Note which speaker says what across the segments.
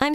Speaker 1: I'm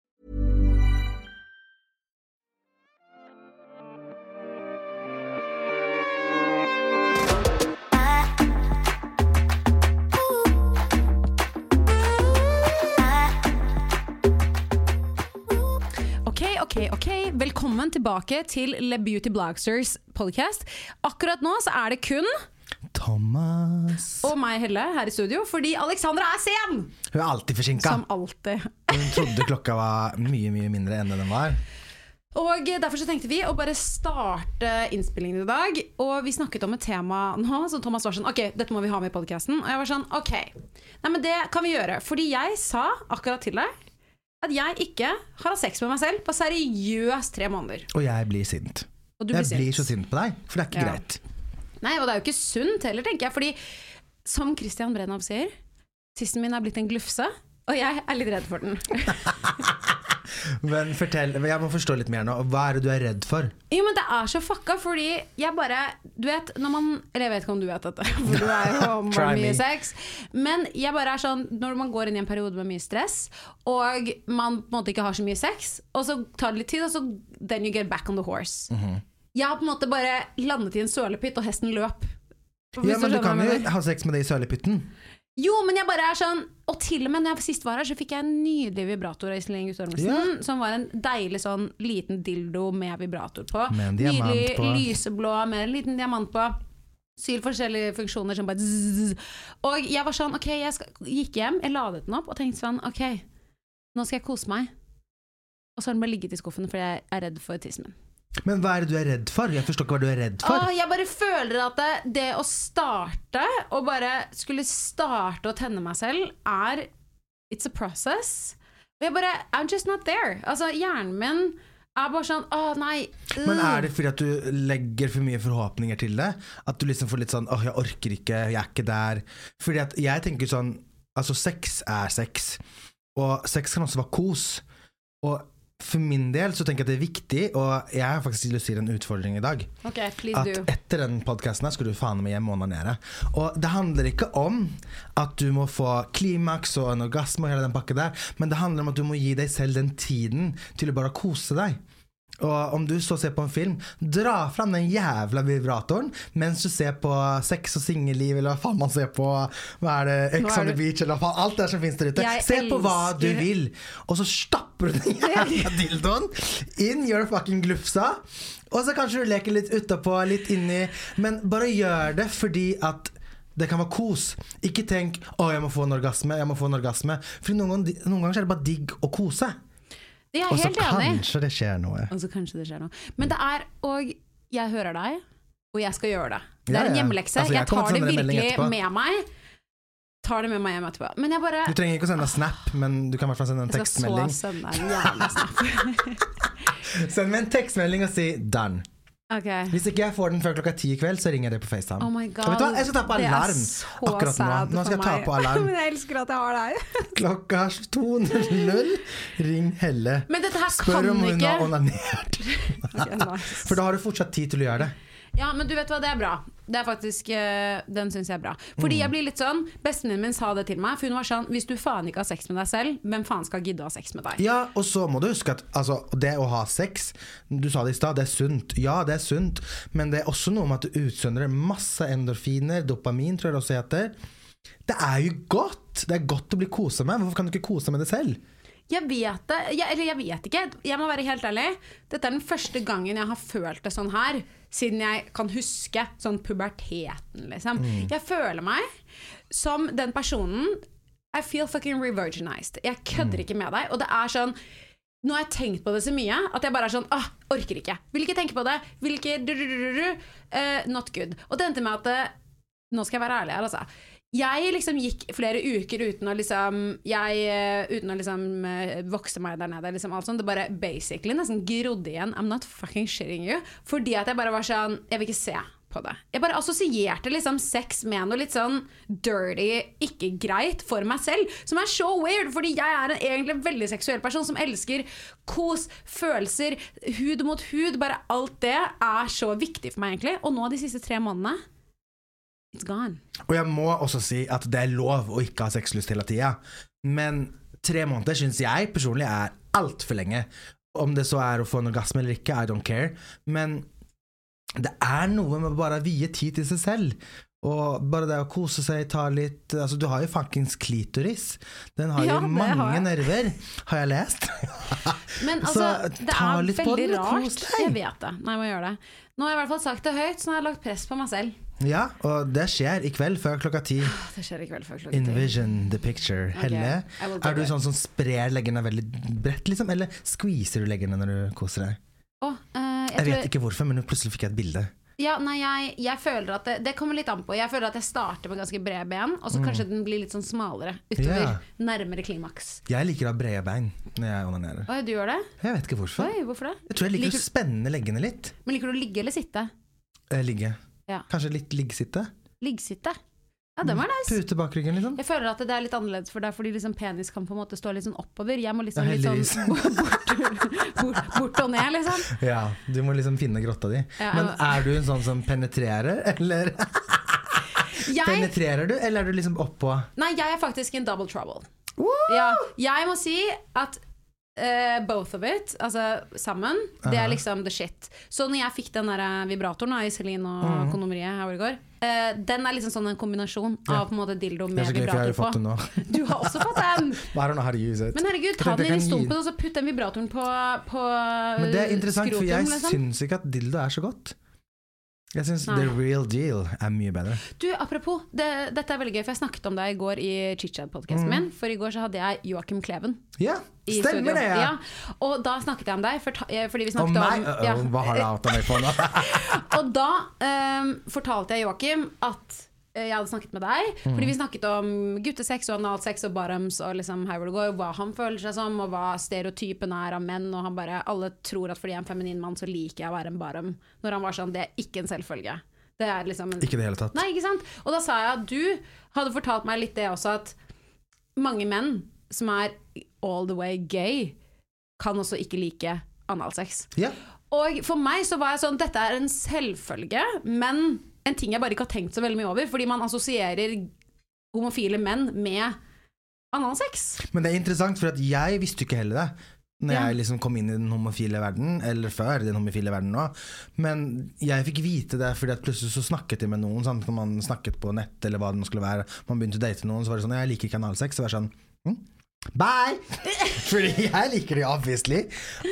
Speaker 2: Ok, ok, ok. Velkommen tilbake til Le Beauty Blogsters podcast. Akkurat nå så er det kun
Speaker 3: Thomas
Speaker 2: og meg, Helle, her i studio, fordi Alexandra er sen!
Speaker 3: Hun er alltid forsinka.
Speaker 2: Som alltid.
Speaker 3: Hun trodde klokka var mye mye mindre enn det den var.
Speaker 2: Og derfor så tenkte vi å bare starte innspillingen i dag. Og vi snakket om et tema nå, så Thomas var sånn Ok, dette må vi ha med i podkasten. Og jeg var sånn Ok. Nei, men det kan vi gjøre. Fordi jeg sa akkurat til deg at jeg ikke har hatt sex med meg selv på seriøst tre måneder.
Speaker 3: Og jeg blir sint.
Speaker 2: Og du
Speaker 3: jeg
Speaker 2: blir
Speaker 3: blir så
Speaker 2: sint.
Speaker 3: sint på deg, for det er ikke
Speaker 2: Ja.
Speaker 3: greit.
Speaker 2: Nei, og det er jo ikke sunt heller, tenker jeg. Fordi som Christian Brennav sier, tissen min er blitt en glufse, og jeg er litt redd for den.
Speaker 3: Men fortell, jeg må forstå litt mer nå. Hva er det du er redd for?
Speaker 2: Jo, men det er så fucka, fordi jeg bare Du vet når man Eller jeg vet ikke om du vet dette, for du er jo om
Speaker 3: Try
Speaker 2: mye
Speaker 3: me.
Speaker 2: sex. Men jeg bare er sånn Når man går inn i en periode med mye stress, og man på en måte ikke har så mye sex, og så tar det litt tid, og så Then you get back on the horse.
Speaker 3: Mhm.
Speaker 2: Jeg har på en måte bare landet i en sølepytt, og hesten løp. Hvis
Speaker 3: Ja, men Du
Speaker 2: skjønner
Speaker 3: kan
Speaker 2: hva jeg
Speaker 3: jo
Speaker 2: mener.
Speaker 3: ha sex med det i sølepytten.
Speaker 2: Jo, men jeg bare er sånn Og til og med når jeg sist var her, så fikk jeg en nydelig vibrator av Iselin Guttormsen.
Speaker 3: Ja.
Speaker 2: Som var en deilig sånn liten dildo med vibrator på.
Speaker 3: Med en diamant
Speaker 2: nydelig
Speaker 3: på.
Speaker 2: lyseblå med en liten diamant på. Syv forskjellige funksjoner som bare zzz. Og jeg var sånn, ok, jeg skal, gikk hjem, jeg ladet den opp og tenkte sånn, ok, nå skal jeg kose meg. Og så har den bare ligget i skuffen fordi jeg er redd for tissen min.
Speaker 3: Men hva er det du er redd for? Jeg forstår ikke hva du er redd for.
Speaker 2: Åh, jeg bare føler at det, det å starte, og bare skulle starte å tenne meg selv, er It's a process. Og jeg bare I'm just not there. Altså, hjernen min er bare sånn Å, nei. øh».
Speaker 3: Men er det fordi at du legger for mye forhåpninger til det? At du liksom får litt sånn åh, jeg orker ikke, jeg er ikke der. Fordi at jeg tenker sånn Altså, sex er sex. Og sex kan også være kos. Og for min del så tenker jeg at det er viktig, og jeg har faktisk lyst til å si en utfordring i dag.
Speaker 2: Ok, please
Speaker 3: At
Speaker 2: do.
Speaker 3: etter den podkasten her skal du faen meg hjem og onanere. Og det handler ikke om at du må få klimaks og en orgasme og hele den pakka der, men det handler om at du må gi deg selv den tiden til å bare kose deg. Og om du så ser på en film, dra fram den jævla vibratoren mens du ser på sex og singelliv, eller hva faen man ser på. Hva er
Speaker 2: Nå
Speaker 3: det, Ex
Speaker 2: er
Speaker 3: on the
Speaker 2: du-
Speaker 3: beach, eller hva faen. Alt det som finnes der ute.
Speaker 2: Jeg
Speaker 3: Se på hva du
Speaker 2: elsker-
Speaker 3: vil, og så stapper du den jævla dildoen in your fucking glufsa. Og så kanskje du leker litt utapå, litt inni, men bare gjør det fordi at det kan være kos. Ikke tenk 'Å, jeg må få en orgasme', jeg må få en orgasme. For noen ganger, noen ganger så er det bare digg å kose.
Speaker 2: Jeg er
Speaker 3: Og så
Speaker 2: helt enig.
Speaker 3: kanskje det skjer noe.
Speaker 2: Og så kanskje det skjer noe. Men det er Og jeg hører deg, og jeg skal gjøre det. Det
Speaker 3: Ja,
Speaker 2: er en
Speaker 3: ja.
Speaker 2: hjemmelekse.
Speaker 3: Altså, jeg
Speaker 2: jeg
Speaker 3: kommer
Speaker 2: tar
Speaker 3: til
Speaker 2: det
Speaker 3: å sende deg en melding
Speaker 2: virkelig
Speaker 3: etterpå.
Speaker 2: med meg. Tar det med meg hjem etterpå. Men jeg bare
Speaker 3: Du trenger ikke å sende snap, men du kan i hvert fall sende en
Speaker 2: jeg skal så
Speaker 3: tekstmelding.
Speaker 2: sende deg en jævla snap.
Speaker 3: Send meg en tekstmelding og si 'done'.
Speaker 2: Ok.
Speaker 3: Hvis ikke jeg får den før klokka ti i kveld, så ringer jeg deg på FaceTime.
Speaker 2: Oh my god,
Speaker 3: og Liksom. vet du hva? Jeg skal ta på
Speaker 2: det er
Speaker 3: alarm
Speaker 2: så
Speaker 3: akkurat nå.
Speaker 2: sad
Speaker 3: Nå skal
Speaker 2: for
Speaker 3: jeg ta
Speaker 2: meg.
Speaker 3: på alarm.
Speaker 2: Men jeg elsker at jeg har deg.
Speaker 3: Klokka 2.00. Ring Helle.
Speaker 2: Men dette her
Speaker 3: Spør
Speaker 2: kan
Speaker 3: om hun
Speaker 2: ikke
Speaker 3: har onanert. For da har du fortsatt tid til å gjøre det.
Speaker 2: Ja, men du vet hva, det er bra. Det er faktisk, eh, Den syns jeg er bra.
Speaker 3: Mm.
Speaker 2: Fordi jeg blir litt sånn Bestevenninnen min sa det til meg, for hun var sånn Hvis du faen ikke har sex med deg selv, hvem faen skal gidde å ha sex med deg?
Speaker 3: Ja, og så må du huske at altså, det å ha sex, du sa det i stad, det er sunt. Ja, det er sunt, men det er også noe med at du utsøndrer masse endorfiner, dopamin tror jeg det også heter. Det er jo godt! Det er godt å bli kosa med. Hvorfor kan du ikke kose med det selv?
Speaker 2: Jeg vet det, jeg, eller jeg vet ikke. Jeg må være helt ærlig. Dette er den første gangen jeg har følt det sånn her, siden jeg kan huske sånn puberteten, liksom. Jeg føler meg som den personen I feel fucking revirginized. Jeg kødder ikke med deg. Og det er sånn Nå har jeg tenkt på det så mye at jeg bare er sånn Åh, orker ikke. Vil ikke tenke på det. Vil ikke du, du, du, du, du. Eh, Not good. Og det endte med at eh, nå skal jeg være ærlig her, altså. Jeg liksom gikk flere uker uten å liksom Jeg eh, Uten å liksom eh, vokse meg der nede. Liksom alt sånt. Det bare basically nesten grodde igjen. I'm not fucking shitting you. Fordi at jeg bare var sånn Jeg vil ikke se på det. Jeg bare assosierte liksom sex med noe litt sånn dirty, ikke greit for meg selv. Som er så weird, fordi jeg er en egentlig en veldig seksuell person som elsker kos, følelser, hud mot hud. Bare alt det er så viktig for meg, egentlig. Og nå de siste tre månedene It's gone.
Speaker 3: Og jeg må også si at det er lov å ikke ha sexlyst hele tida. Men tre måneder syns jeg personlig er altfor lenge. Om det så er å få en orgasme eller ikke, I don't care. Men det er noe med bare å vie tid til seg selv. Og bare det å kose seg, ta litt Altså, du har jo fuckings klitoris. Den har
Speaker 2: Ja,
Speaker 3: jo
Speaker 2: det
Speaker 3: mange
Speaker 2: har jeg.
Speaker 3: nerver, har jeg lest.
Speaker 2: Men
Speaker 3: Så
Speaker 2: altså, det
Speaker 3: ta
Speaker 2: er
Speaker 3: litt på
Speaker 2: veldig
Speaker 3: den og kos
Speaker 2: rart.
Speaker 3: deg.
Speaker 2: Jeg vet det. Nei, jeg må gjøre det. Nå har jeg i hvert fall sagt det høyt, så nå har jeg lagt press på meg selv.
Speaker 3: ja, og det skjer i kveld før klokka ti.
Speaker 2: Åh, Det skjer i kveld før klokka ti.
Speaker 3: Envision the picture. Helle,
Speaker 2: I will do
Speaker 3: er du
Speaker 2: it.
Speaker 3: sånn som sprer leggene veldig bredt, liksom? Eller skviser du leggene når du koser deg?
Speaker 2: Åh, eh, jeg
Speaker 3: Jeg
Speaker 2: tror-
Speaker 3: vet ikke hvorfor, men plutselig fikk jeg et bilde.
Speaker 2: Ja, nei, jeg, jeg føler at det, det kommer litt an på. Jeg føler at jeg starter med ganske bred ben, og så kanskje den blir litt sånn smalere utover.
Speaker 3: Mm. Ja.
Speaker 2: Nærmere klimaks.
Speaker 3: Jeg liker å ha brede bein når jeg onanerer.
Speaker 2: Oi, du gjør det?
Speaker 3: Jeg vet ikke hvorfor.
Speaker 2: Oi, hvorfor det?
Speaker 3: Jeg tror jeg liker,
Speaker 2: Liker-
Speaker 3: å spenne leggene litt.
Speaker 2: Men liker du å ligge eller sitte?
Speaker 3: Eh, ligge.
Speaker 2: Ja.
Speaker 3: Kanskje litt liggesitte.
Speaker 2: Liggsitte. Ja, den var nice.
Speaker 3: Pute bak ryggen, liksom.
Speaker 2: Jeg føler at det er litt annerledes for deg, fordi liksom penis kan på en måte stå litt sånn oppover. Jeg må liksom
Speaker 3: Ja,
Speaker 2: litt
Speaker 3: heldigvis.
Speaker 2: sånn bort, bort, bort og ned, liksom.
Speaker 3: Ja, du må liksom finne grotta di.
Speaker 2: Ja,
Speaker 3: Men
Speaker 2: jeg må-
Speaker 3: er du en sånn som penetrerer, eller
Speaker 2: Jeg,
Speaker 3: Penetrerer du, eller er du liksom oppå?
Speaker 2: nei, jeg er faktisk in double trouble. Ja, jeg må si at eh, both of it, altså sammen, det
Speaker 3: Uh-huh.
Speaker 2: er liksom the shit. Så når jeg fikk den der eh, vibratoren da, i Celine og
Speaker 3: Mm.
Speaker 2: Kondomeriet her hvor det går, eh, den er liksom sånn en kombinasjon av på en måte dildo
Speaker 3: Det
Speaker 2: med
Speaker 3: er så gøy, for jeg
Speaker 2: vibrator
Speaker 3: har jo fått det nå.
Speaker 2: på. Du har også fått den!
Speaker 3: I don't know how to use it.
Speaker 2: Men herregud,
Speaker 3: Jeg
Speaker 2: ta
Speaker 3: tenkte
Speaker 2: den
Speaker 3: jeg
Speaker 2: inn i
Speaker 3: kan gi-
Speaker 2: stumpen, og så putt den vibratoren på, på eh,
Speaker 3: Men det er interessant, for jeg
Speaker 2: liksom.
Speaker 3: syns ikke at dildo er så godt. Jeg syns the
Speaker 2: Nei.
Speaker 3: real deal er mye bedre.
Speaker 2: Du, apropos, det, dette er veldig gøy, for jeg snakket om deg i går i
Speaker 3: Mm.
Speaker 2: chitchat-podcasten min, for i går så hadde jeg Joakim Kleven.
Speaker 3: Ja,
Speaker 2: i
Speaker 3: stemmer
Speaker 2: studio.
Speaker 3: det! Ja.
Speaker 2: Ja. Og da snakket jeg om deg, for, ta- eh, fordi vi
Speaker 3: Og
Speaker 2: snakket om
Speaker 3: meg? Uh-oh,
Speaker 2: ja.
Speaker 3: Hva har du outa meg for nå?
Speaker 2: Og da ehm, fortalte jeg Joakim at eh, jeg hadde snakket med deg, fordi
Speaker 3: Mm.
Speaker 2: vi snakket om guttesex og analsex og bottoms og liksom her hvor det går, hva han føler seg som, og hva stereotypen er av menn, og han bare Alle tror at fordi jeg er en feminin mann, så liker jeg å være en bottom. Når han var sånn Det er ikke en selvfølge. Det er liksom en
Speaker 3: ikke i det hele tatt.
Speaker 2: Nei, ikke sant? Og da sa jeg at du hadde fortalt meg litt det også, at mange menn som er all the way gay, kan også ikke like analsex.
Speaker 3: Ja.
Speaker 2: Og for meg så var jeg sånn, dette er en selvfølge, men en ting jeg bare ikke har tenkt så veldig mye over, fordi man assosierer homofile menn med analsex.
Speaker 3: Men det er interessant, for at jeg visste jo ikke heller det. Når
Speaker 2: Ja.
Speaker 3: jeg liksom kom inn i den homofile verden, eller før den homofile verden nå. Men jeg fikk vite det fordi at plutselig så snakket jeg med noen. Sant? Når man snakket på nett, eller hva det nå skulle være. Man begynte å date noen, så var det sånn Jeg liker ikke analsex. Så var jeg sånn hm? Bye! Fordi jeg liker det, obviously.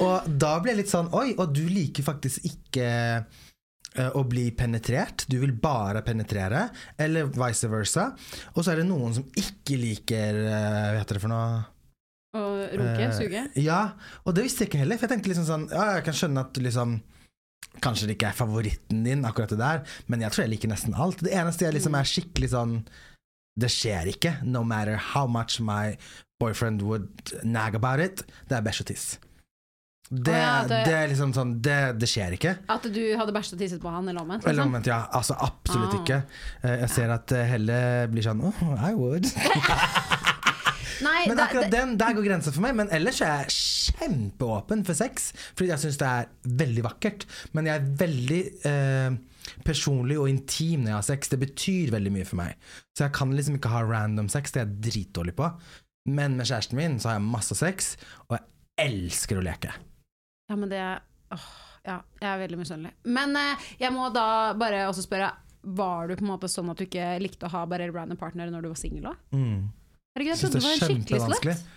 Speaker 3: Og da ble jeg litt sånn Oi, og du liker faktisk ikke eh, å bli penetrert. Du vil bare penetrere, eller vice versa. Og så er det noen som ikke liker eh, Hva heter det for noe?
Speaker 2: Og runke,
Speaker 3: Eh,
Speaker 2: suge.
Speaker 3: Ja, og det visste jeg ikke heller. For jeg tenkte liksom sånn Ja, jeg kan skjønne at du liksom Kanskje det ikke er favoritten din, akkurat det der, men jeg tror jeg liker nesten alt. Det eneste jeg liksom er
Speaker 2: Mm.
Speaker 3: skikkelig sånn Det skjer ikke, no matter how much my boyfriend would nag about it. Det er bæsj og tiss. Det,
Speaker 2: Å ja, det-
Speaker 3: det er liksom sånn Det, det skjer ikke.
Speaker 2: At du hadde bæsjet og tisset på han, eller omvendt.
Speaker 3: Eller
Speaker 2: Liksom.
Speaker 3: omvendt, ja. Altså absolutt
Speaker 2: Ah.
Speaker 3: ikke. Eh, Jeg ser at eh, Helle blir sånn Oh, I would.
Speaker 2: Nei,
Speaker 3: Men
Speaker 2: det-
Speaker 3: akkurat
Speaker 2: det-
Speaker 3: den, der går grensa for meg. Men ellers er jeg kjempeåpen for sex. Fordi jeg syns det er veldig vakkert. Men jeg er veldig eh, personlig og intim når jeg har sex. Det betyr veldig mye for meg. Så jeg kan liksom ikke ha random sex. Det er jeg dritdårlig på. Men med kjæresten min så har jeg masse sex, og jeg elsker å leke.
Speaker 2: Ja, men det åh, Ja, jeg er veldig misunnelig. Men eh, jeg må da bare også spørre Var du på en måte sånn at du ikke likte å ha bare random partnere når du var singel òg?
Speaker 3: Mm.
Speaker 2: Herregud, jeg
Speaker 3: Syns
Speaker 2: trodde
Speaker 3: det
Speaker 2: du
Speaker 3: er
Speaker 2: var en skikkelig
Speaker 3: kjempevanskelig.
Speaker 2: slutt.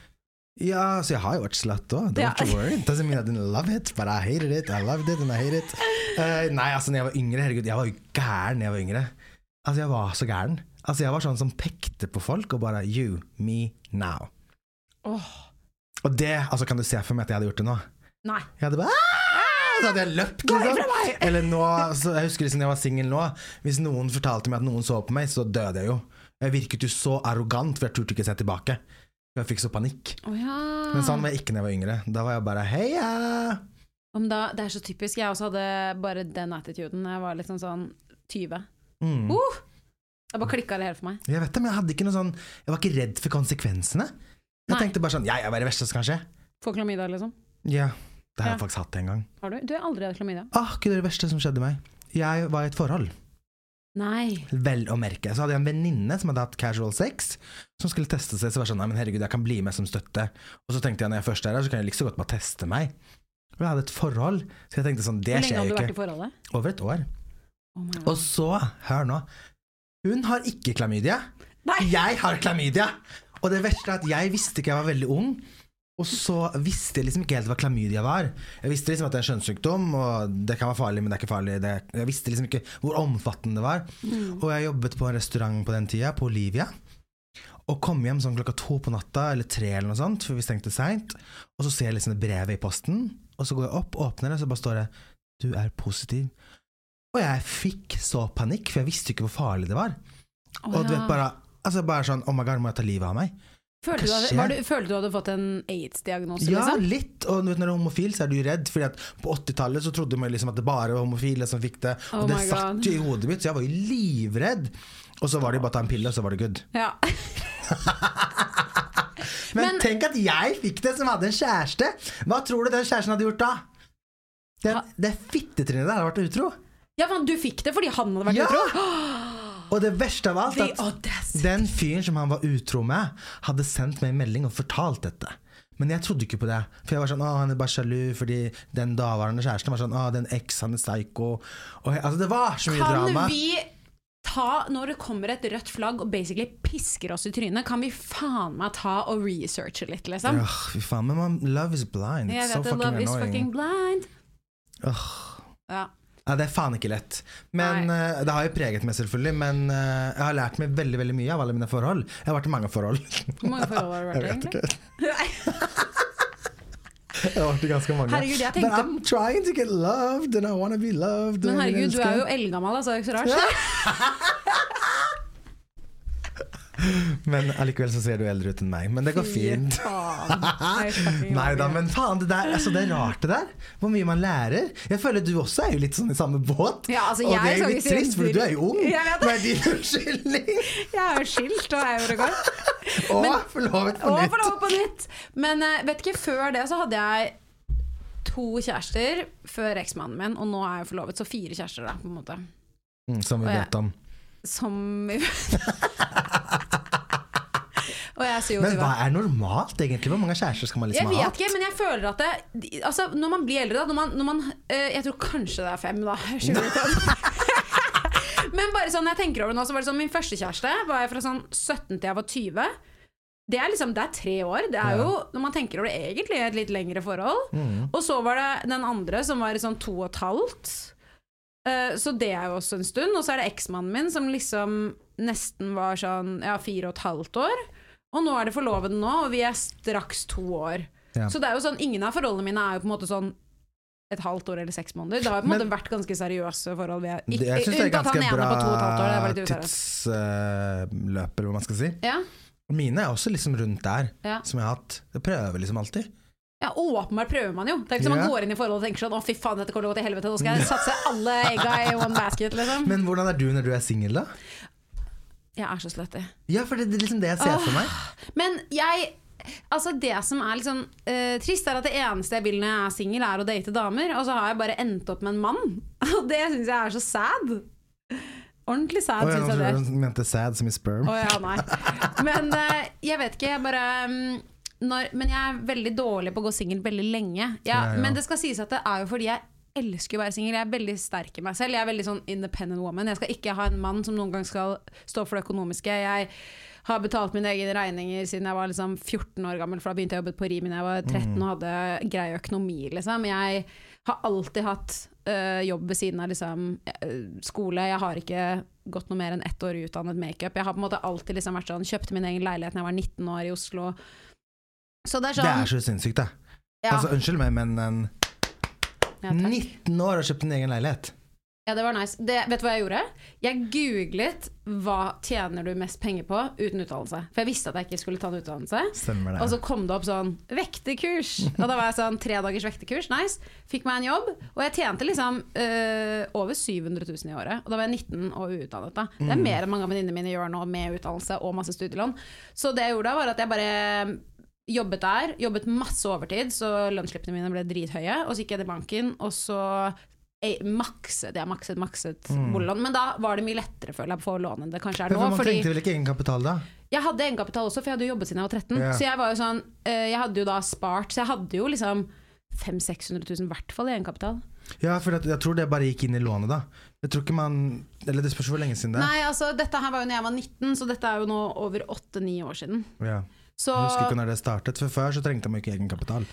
Speaker 3: Ja, så jeg har jo vært slatt òg.
Speaker 2: Ja.
Speaker 3: Don't you worry. It Doesn't mean I didn't love it, but I hated it. I loved it and I hate it. Eh, nei, altså, når jeg var yngre Herregud, jeg var jo gæren da jeg var yngre. Altså, jeg var så gæren. Altså, jeg var sånn som pekte på folk og bare You, me, now.
Speaker 2: Åh,
Speaker 3: Og det altså, kan du se for meg at jeg hadde gjort det nå.
Speaker 2: nei.
Speaker 3: Jeg hadde bare «Ah!» så hadde jeg løpt, liksom. Eller nå, så jeg husker liksom, når jeg var singel nå, hvis noen fortalte meg at noen så på meg, så døde jeg jo. Jeg virket jo så arrogant, for jeg turte ikke se tilbake. Jeg fikk så panikk.
Speaker 2: Å ja.
Speaker 3: Men sånn var jeg ikke da jeg var yngre. Da var jeg bare heia!
Speaker 2: Om da, det er så typisk. Jeg også hadde bare den attituden. Jeg var liksom sånn 20.
Speaker 3: Mm.
Speaker 2: Uh! Da bare klikka det helt for meg.
Speaker 3: Jeg vet det, men jeg hadde ikke noe sånn Jeg var ikke redd for konsekvensene. Jeg
Speaker 2: Nei.
Speaker 3: tenkte bare sånn Ja, jeg var det verste som kan skje.
Speaker 2: Få klamydia, liksom.
Speaker 3: Ja. Det
Speaker 2: Ja.
Speaker 3: har jeg faktisk hatt en gang.
Speaker 2: Har du? Du har aldri hatt klamydia.
Speaker 3: Ah, ikke det verste som skjedde meg. Jeg var i et forhold,
Speaker 2: Nei.
Speaker 3: vel å merke. Så hadde jeg en venninne som hadde hatt casual sex, som skulle teste seg. Så var jeg sånn Nei, men herregud, jeg kan bli med som støtte. Og så tenkte jeg når jeg først er her, så kan jeg like så godt bare teste meg. Og jeg hadde et forhold, så jeg tenkte sånn Det
Speaker 2: Hvor lenge
Speaker 3: skjer
Speaker 2: hadde du
Speaker 3: jo
Speaker 2: vært i
Speaker 3: ikke.
Speaker 2: forholdet?
Speaker 3: Over et år.
Speaker 2: Oh my
Speaker 3: Og så, hør nå Hun har ikke klamydia.
Speaker 2: Nei.
Speaker 3: Jeg har klamydia! Og det verste er at jeg visste ikke jeg var veldig ung. Og så visste jeg liksom ikke helt hva klamydia var. Jeg visste liksom at det er en kjønnssykdom, og det kan være farlig, men det er ikke farlig. Det, jeg visste liksom ikke hvor omfattende det var.
Speaker 2: Mm.
Speaker 3: Og jeg jobbet på en restaurant på den tida, på Olivia. Og kom hjem sånn klokka to på natta, eller tre, eller noe sånt, for vi stengte seint. Og så ser jeg liksom det brevet i posten, og så går jeg opp, åpner det, og så bare står det 'Du er positiv'. Og jeg fikk så panikk, for jeg visste ikke hvor farlig det var.
Speaker 2: Å
Speaker 3: Og du
Speaker 2: ja.
Speaker 3: vet bare Altså bare sånn Oh my god, må jeg ta livet av meg?
Speaker 2: Følte du,
Speaker 3: Hva
Speaker 2: hadde,
Speaker 3: skjer?
Speaker 2: var du, følte du hadde fått en aids-diagnose?
Speaker 3: Ja,
Speaker 2: liksom?
Speaker 3: litt. Og du vet, når du er homofil, så er du redd. Fordi at på 80-tallet så trodde man liksom at det bare var homofile som fikk det. Og
Speaker 2: Oh
Speaker 3: det
Speaker 2: my God.
Speaker 3: satt jo i hodet mitt, så jeg var jo livredd. Og så var det jo bare å ta en pille, og så var det good.
Speaker 2: Ja.
Speaker 3: Men,
Speaker 2: Men-
Speaker 3: tenk at jeg fikk det, som hadde en kjæreste! Hva tror du den kjæresten hadde gjort da? Den,
Speaker 2: Ha-
Speaker 3: det fittetrynet der hadde vært utro.
Speaker 2: ja, men du fikk det fordi han hadde vært
Speaker 3: Ja!
Speaker 2: utro?
Speaker 3: Og det verste av alt
Speaker 2: The
Speaker 3: at
Speaker 2: audacity.
Speaker 3: Den fyren som han var utro med, hadde sendt meg en melding og fortalt dette. Men jeg trodde ikke på det. For jeg var sånn, å, han er bare sjalu fordi den daværende kjæresten var sånn, å, den eks, han er psycho. Og jeg, altså, det var så mye drama.
Speaker 2: Kan vi ta, når det kommer et rødt flagg og basically pisker oss i trynet, kan vi faen meg ta og researche litt, liksom?
Speaker 3: Åh, fy faen, men man, love is blind.
Speaker 2: Jeg
Speaker 3: It's so
Speaker 2: vet at
Speaker 3: fucking
Speaker 2: love is
Speaker 3: annoying.
Speaker 2: fucking blind.
Speaker 3: Åh.
Speaker 2: Ja.
Speaker 3: Ja, det er faen ikke lett. Men eh, Det har jo preget meg, selvfølgelig. Men eh, jeg har lært meg veldig veldig mye av alle mine forhold. Jeg har vært i mange forhold.
Speaker 2: Hvor mange forhold har du
Speaker 3: jeg
Speaker 2: vært i,
Speaker 3: vet
Speaker 2: egentlig?
Speaker 3: ikke. Jeg har vært i ganske mange.
Speaker 2: Herregud, jeg
Speaker 3: But
Speaker 2: tenkte-
Speaker 3: I'm trying to get loved, and I wanna be loved.
Speaker 2: Men
Speaker 3: og jeg vil
Speaker 2: herregud, du
Speaker 3: elske.
Speaker 2: er jo eldgammel, altså. Det er ikke så rart.
Speaker 3: Men allikevel så ser du eldre ut enn meg. Men det går fint.
Speaker 2: Faen.
Speaker 3: Nei da, men faen, det der altså det er rart det der. Hvor mye man lærer. Jeg føler du også er jo litt sånn i samme båt.
Speaker 2: Ja, altså,
Speaker 3: og det
Speaker 2: jeg
Speaker 3: er jo
Speaker 2: skal
Speaker 3: litt
Speaker 2: ikke si en
Speaker 3: trist, for du er jo ung.
Speaker 2: Jeg vet det.
Speaker 3: Hva er din unnskyldning?
Speaker 2: Jeg er jo skilt og er jo regard.
Speaker 3: Og forlovet på
Speaker 2: Og
Speaker 3: nytt.
Speaker 2: forlovet på nytt. Men eh, vet ikke, før det så hadde jeg to kjærester før eksmannen min, og nå er jeg forlovet, så fire kjærester da, på en måte.
Speaker 3: Mm, Som
Speaker 2: Og
Speaker 3: vi
Speaker 2: jeg-
Speaker 3: vet om.
Speaker 2: Som Og jeg er så jo
Speaker 3: Men hva er normalt, egentlig? Hvor mange kjærester skal man
Speaker 2: Jeg
Speaker 3: liksom
Speaker 2: vet
Speaker 3: ha?
Speaker 2: ikke, men jeg føler at det Altså, når man blir eldre, da når man, når man, eh, Jeg tror kanskje det er fem, da. Jeg skjønner ikke. men bare sånn, jeg tenker over det nå, så var det sånn Min første kjæreste var jeg fra sånn 17 til jeg var 20. Det er liksom, det er tre år. Det er jo, når man tenker over det, egentlig et litt lengre forhold.
Speaker 3: Mm.
Speaker 2: Og så var det den andre som var i sånn to og et halvt. Eh, Så det er jo også en stund. Og så er det eksmannen min som liksom nesten var sånn ja, fire og et halvt år. Og nå er det forloveden nå, og vi er straks to år.
Speaker 3: Ja.
Speaker 2: Så det er jo sånn, ingen av forholdene mine er jo på en måte sånn et halvt år eller seks måneder. Det har jo på en
Speaker 3: Men-
Speaker 2: måte vært ganske seriøse forhold. Vi er,
Speaker 3: Det- Jeg syns det er
Speaker 2: unntatt han
Speaker 3: ganske
Speaker 2: ene på to og et halvt år, det er
Speaker 3: bra
Speaker 2: bare litt useriøst.
Speaker 3: tidsløp, eller hva man skal si.
Speaker 2: Ja,
Speaker 3: Og Mine er også liksom rundt der,
Speaker 2: Ja.
Speaker 3: som jeg har hatt. Jeg prøver liksom alltid.
Speaker 2: ja, åpenbart prøver man jo. Det er ikke som
Speaker 3: Ja.
Speaker 2: man går inn i forhold og tenker sånn å fy faen, dette kommer til å gå til helvete, nå skal jeg satse alle egga i one basket, liksom.
Speaker 3: Men hvordan er du når du er singel, da?
Speaker 2: Jeg er så slutty.
Speaker 3: Ja, for det, det er liksom det jeg ser for meg.
Speaker 2: Men jeg Altså Det som er liksom eh, trist, er at det eneste jeg vil når jeg er singel, er å date damer. Og så har jeg bare endt opp med en mann. Og det syns jeg er så sad. Ordentlig sad,
Speaker 3: Og jeg
Speaker 2: syns jeg det. er.
Speaker 3: nå mente sad som i sperm.
Speaker 2: Å ja, nei. Men eh, jeg vet ikke, jeg bare mm, når, Men jeg er veldig dårlig på å gå singel veldig lenge. Jeg,
Speaker 3: Ja, ja.
Speaker 2: Men det skal sies at det er jo fordi jeg elsker å være singel. Jeg er veldig sterk i meg selv. Jeg er veldig sånn independent woman. Jeg skal ikke ha en mann som noen gang skal stå for det økonomiske. Jeg har betalt mine egne regninger siden jeg var liksom 14 år gammel, for da begynte jeg å jobbe på Rimi da jeg var 13
Speaker 3: Mm.
Speaker 2: og hadde grei økonomi, liksom. Jeg har alltid hatt øh, jobb ved siden av liksom, øh, skole. Jeg har ikke gått noe mer enn ett år i utdannet makeup. Jeg har på en måte alltid liksom vært sånn Kjøpte min egen leilighet da jeg var 19 år i Oslo. Så altså, det er
Speaker 3: Det
Speaker 2: sånn
Speaker 3: er så sinnssykt, da.
Speaker 2: ja,
Speaker 3: Altså, unnskyld meg, men en
Speaker 2: ja, takk.
Speaker 3: 19 år og kjøpt en egen leilighet.
Speaker 2: Ja, det var nice. Det, vet du hva jeg gjorde? Jeg googlet 'Hva tjener du mest penger på uten utdannelse?' For jeg visste at jeg ikke skulle ta en utdannelse.
Speaker 3: Stemmer det.
Speaker 2: Og så kom det opp sånn 'vektekurs'. Og da var jeg sånn tre dagers vektekurs. Nice. Fikk meg en jobb. Og jeg tjente liksom øh, over 700 000 i året. Og da var jeg 19 og uutdannet. da. Det
Speaker 3: Mm.
Speaker 2: er mer enn mange av venninnene mine gjør nå med utdannelse og masse studielån. Så det jeg gjorde da, var at jeg bare Jobbet der, jobbet masse overtid, så lønnsslippene mine ble drithøye. Og så gikk jeg til banken, og så eh, makset jeg makset, makset boliglån. Men da var det mye lettere føler jeg, på å få lån enn det kanskje er
Speaker 3: Men
Speaker 2: nå.
Speaker 3: Mm. man
Speaker 2: Fordi
Speaker 3: trengte vel ikke egenkapital da?
Speaker 2: jeg hadde egenkapital også, for jeg hadde jo jobbet siden jeg var 13.
Speaker 3: Ja.
Speaker 2: Så jeg var jo sånn, eh, jeg hadde jo da spart, så jeg hadde jo liksom 500 600 000 i hvert fall i egenkapital.
Speaker 3: Ja, for jeg, jeg tror det bare gikk inn i lånet, da. Jeg tror ikke man Eller det spørs hvor lenge siden det er.
Speaker 2: Nei, altså dette her var jo når jeg var 19, så dette er jo nå over 8-9 år siden.
Speaker 3: Ja.
Speaker 2: Så
Speaker 3: Jeg husker ikke når det startet, for før så trengte man jo ikke egenkapital.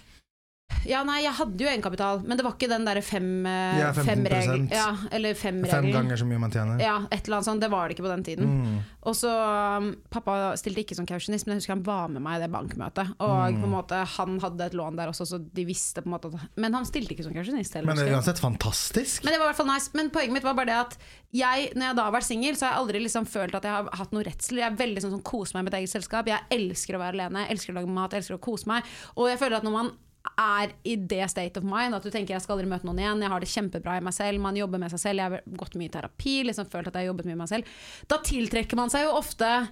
Speaker 2: Ja, nei, jeg hadde jo egenkapital, men det var ikke den derre fem, eh,
Speaker 3: Ja, 15%.
Speaker 2: fem regel, ja, eller fem
Speaker 3: Fem
Speaker 2: regelen.
Speaker 3: ganger Mm. så mye man tjener.
Speaker 2: Ja, et eller annet sånt. Det var det ikke på den tiden. Og så um, Pappa stilte ikke som kausjonist, men jeg husker han var med meg i det bankmøtet. Og
Speaker 3: Mm.
Speaker 2: på en måte, han hadde et lån der også, så de visste på en måte at Men han stilte ikke som kausjonist heller.
Speaker 3: Men det
Speaker 2: husker
Speaker 3: er
Speaker 2: jeg.
Speaker 3: uansett fantastisk.
Speaker 2: Men det var i hvert fall nice. Men poenget mitt var bare det at jeg, når jeg da har vært singel, så har jeg aldri liksom følt at jeg har hatt noe redsel. Jeg er veldig sånn som koser meg i mitt eget selskap. Jeg elsker å være alene, jeg elsker å lage mat, jeg elsker å kose meg. Og jeg føler at når man er i det state of mind, at du tenker jeg skal aldri møte noen igjen, jeg har det kjempebra i meg selv, man jobber med seg selv, jeg har gått mye i terapi, liksom følt at jeg har jobbet mye med meg selv. Da tiltrekker man seg jo ofte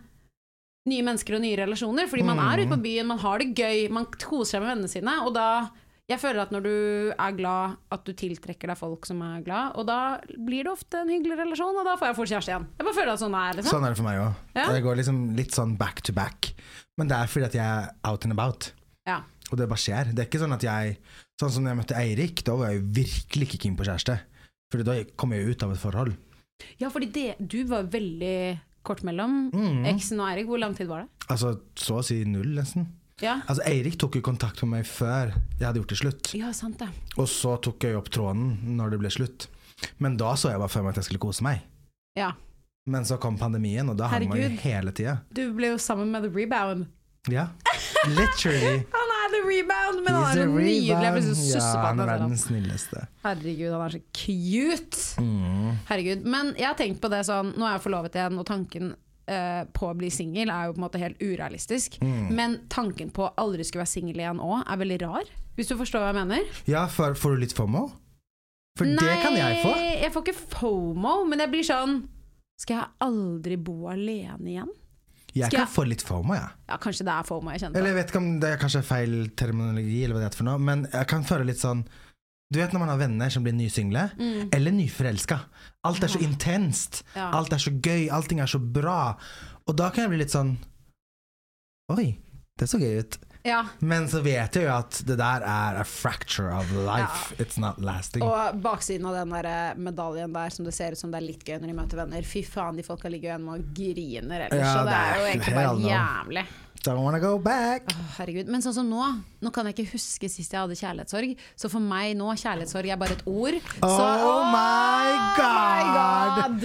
Speaker 2: nye mennesker og nye relasjoner. Fordi man er ute
Speaker 3: Mm.
Speaker 2: på byen, man har det gøy, man koser seg med vennene sine. Og da Jeg føler at når du er glad, at du tiltrekker deg folk som er glad. Og da blir det ofte en hyggelig relasjon, og da får jeg fort kjæreste igjen. Jeg bare føler at sånn er liksom.
Speaker 3: Sånn er det for meg òg.
Speaker 2: Ja.
Speaker 3: Jeg går liksom litt sånn back to back. Men det er fordi at jeg er out and about.
Speaker 2: Ja.
Speaker 3: Og det bare skjer. Det er ikke sånn at jeg Sånn som når jeg møtte Eirik, da var jeg jo virkelig ikke keen på kjæreste. Fordi da kom jeg jo ut av et forhold.
Speaker 2: ja, fordi det, du var veldig kort mellom
Speaker 3: Mm.
Speaker 2: eksen og Eirik. Hvor lang tid var det?
Speaker 3: Altså så å si null, nesten.
Speaker 2: Ja,
Speaker 3: Altså Eirik tok jo kontakt med meg før jeg hadde gjort det slutt.
Speaker 2: ja sant det.
Speaker 3: Og så tok jeg jo opp tråden når det ble slutt. Men da så jeg bare for meg at jeg skulle kose meg.
Speaker 2: Ja.
Speaker 3: Men så kom pandemien, og da hang man jo
Speaker 2: Herregud.
Speaker 3: hele tida.
Speaker 2: Du ble jo sammen med The Rebound.
Speaker 3: Ja. Literally.
Speaker 2: Han er The Rebound, men han
Speaker 3: He's
Speaker 2: er
Speaker 3: a
Speaker 2: så nydelig. Jeg ble så
Speaker 3: rebound. Ja, han er
Speaker 2: sussepate.
Speaker 3: verdens snilleste.
Speaker 2: Herregud, han er så cute!
Speaker 3: Mm.
Speaker 2: Herregud. Men jeg har tenkt på det sånn, nå er jeg forlovet igjen, og tanken eh, på å bli singel er jo på en måte helt urealistisk.
Speaker 3: Mm.
Speaker 2: Men tanken på å aldri skulle være singel igjen òg er veldig rar, hvis du forstår hva jeg mener.
Speaker 3: Ja, for, får du litt FOMO? For det kan jeg få.
Speaker 2: Nei, jeg får ikke FOMO, men jeg blir sånn Skal jeg aldri bo alene igjen?
Speaker 3: Jeg
Speaker 2: Skal
Speaker 3: kan
Speaker 2: jeg-
Speaker 3: få litt FOMO, jeg. Ja.
Speaker 2: Ja, kanskje det er FOMO jeg kjenner.
Speaker 3: Eller jeg vet ikke om det er kanskje feil terminologi, eller hva det heter for noe, men jeg kan føle litt sånn Du vet når man har venner som blir nysingle, eller nyforelska. Alt er så intenst.
Speaker 2: Mm. Ja.
Speaker 3: Alt er så gøy. Allting er så bra. Og da kan jeg bli litt sånn Oi, det så gøy ut.
Speaker 2: Ja,
Speaker 3: Men så vet jeg jo at det der er a fracture of life. It's not lasting.
Speaker 2: Og baksiden av den der eh, medaljen der som det ser ut som det er litt gøy når de møter venner. Fy faen, de folka ligger jo igjen og griner ellers,
Speaker 3: Ja,
Speaker 2: så det er jo
Speaker 3: det er
Speaker 2: egentlig bare
Speaker 3: hell no.
Speaker 2: jævlig.
Speaker 3: Don't wanna go back.
Speaker 2: Å, Herregud. Men sånn som nå, nå kan jeg ikke huske sist jeg hadde kjærlighetssorg, så for meg nå, kjærlighetssorg er bare et ord. Så,
Speaker 3: Oh my
Speaker 2: Å,
Speaker 3: god!
Speaker 2: my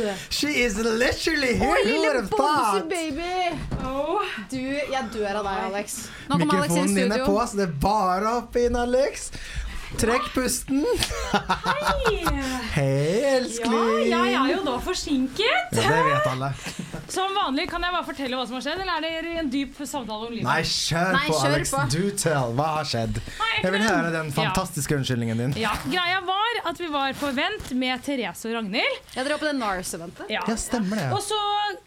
Speaker 2: God.
Speaker 3: She is literally
Speaker 2: Å,
Speaker 3: here! Who would
Speaker 2: lille
Speaker 3: have
Speaker 2: Bamse
Speaker 3: thought?
Speaker 2: baby! Du, jeg dør av deg, Alex. Nå kommer Alex inn
Speaker 3: Mikrofonen
Speaker 2: i
Speaker 3: din er på,
Speaker 2: studio.
Speaker 3: så det er bare opp inn, Alex. Trekk pusten. Hei,
Speaker 4: Ah, Ja,
Speaker 3: elskling.
Speaker 4: jeg er jo da forsinket.
Speaker 3: Ja, det vet alle.
Speaker 4: Som vanlig kan jeg bare fortelle hva som har skjedd, eller er det en dyp samtale om livet?
Speaker 3: Nei, kjør
Speaker 2: Nei,
Speaker 3: på,
Speaker 2: kjør
Speaker 3: Alex.
Speaker 2: på.
Speaker 3: Do tell. Hva har skjedd?
Speaker 4: jeg
Speaker 3: Jeg vil
Speaker 4: kan-
Speaker 3: høre den
Speaker 4: Ja.
Speaker 3: fantastiske unnskyldningen din.
Speaker 4: Ja, greia var at vi var på event med Therese og Ragnhild.
Speaker 2: Jeg drar på det NARS-eventet.
Speaker 4: Ja.
Speaker 3: Ja, stemmer det.
Speaker 4: Og så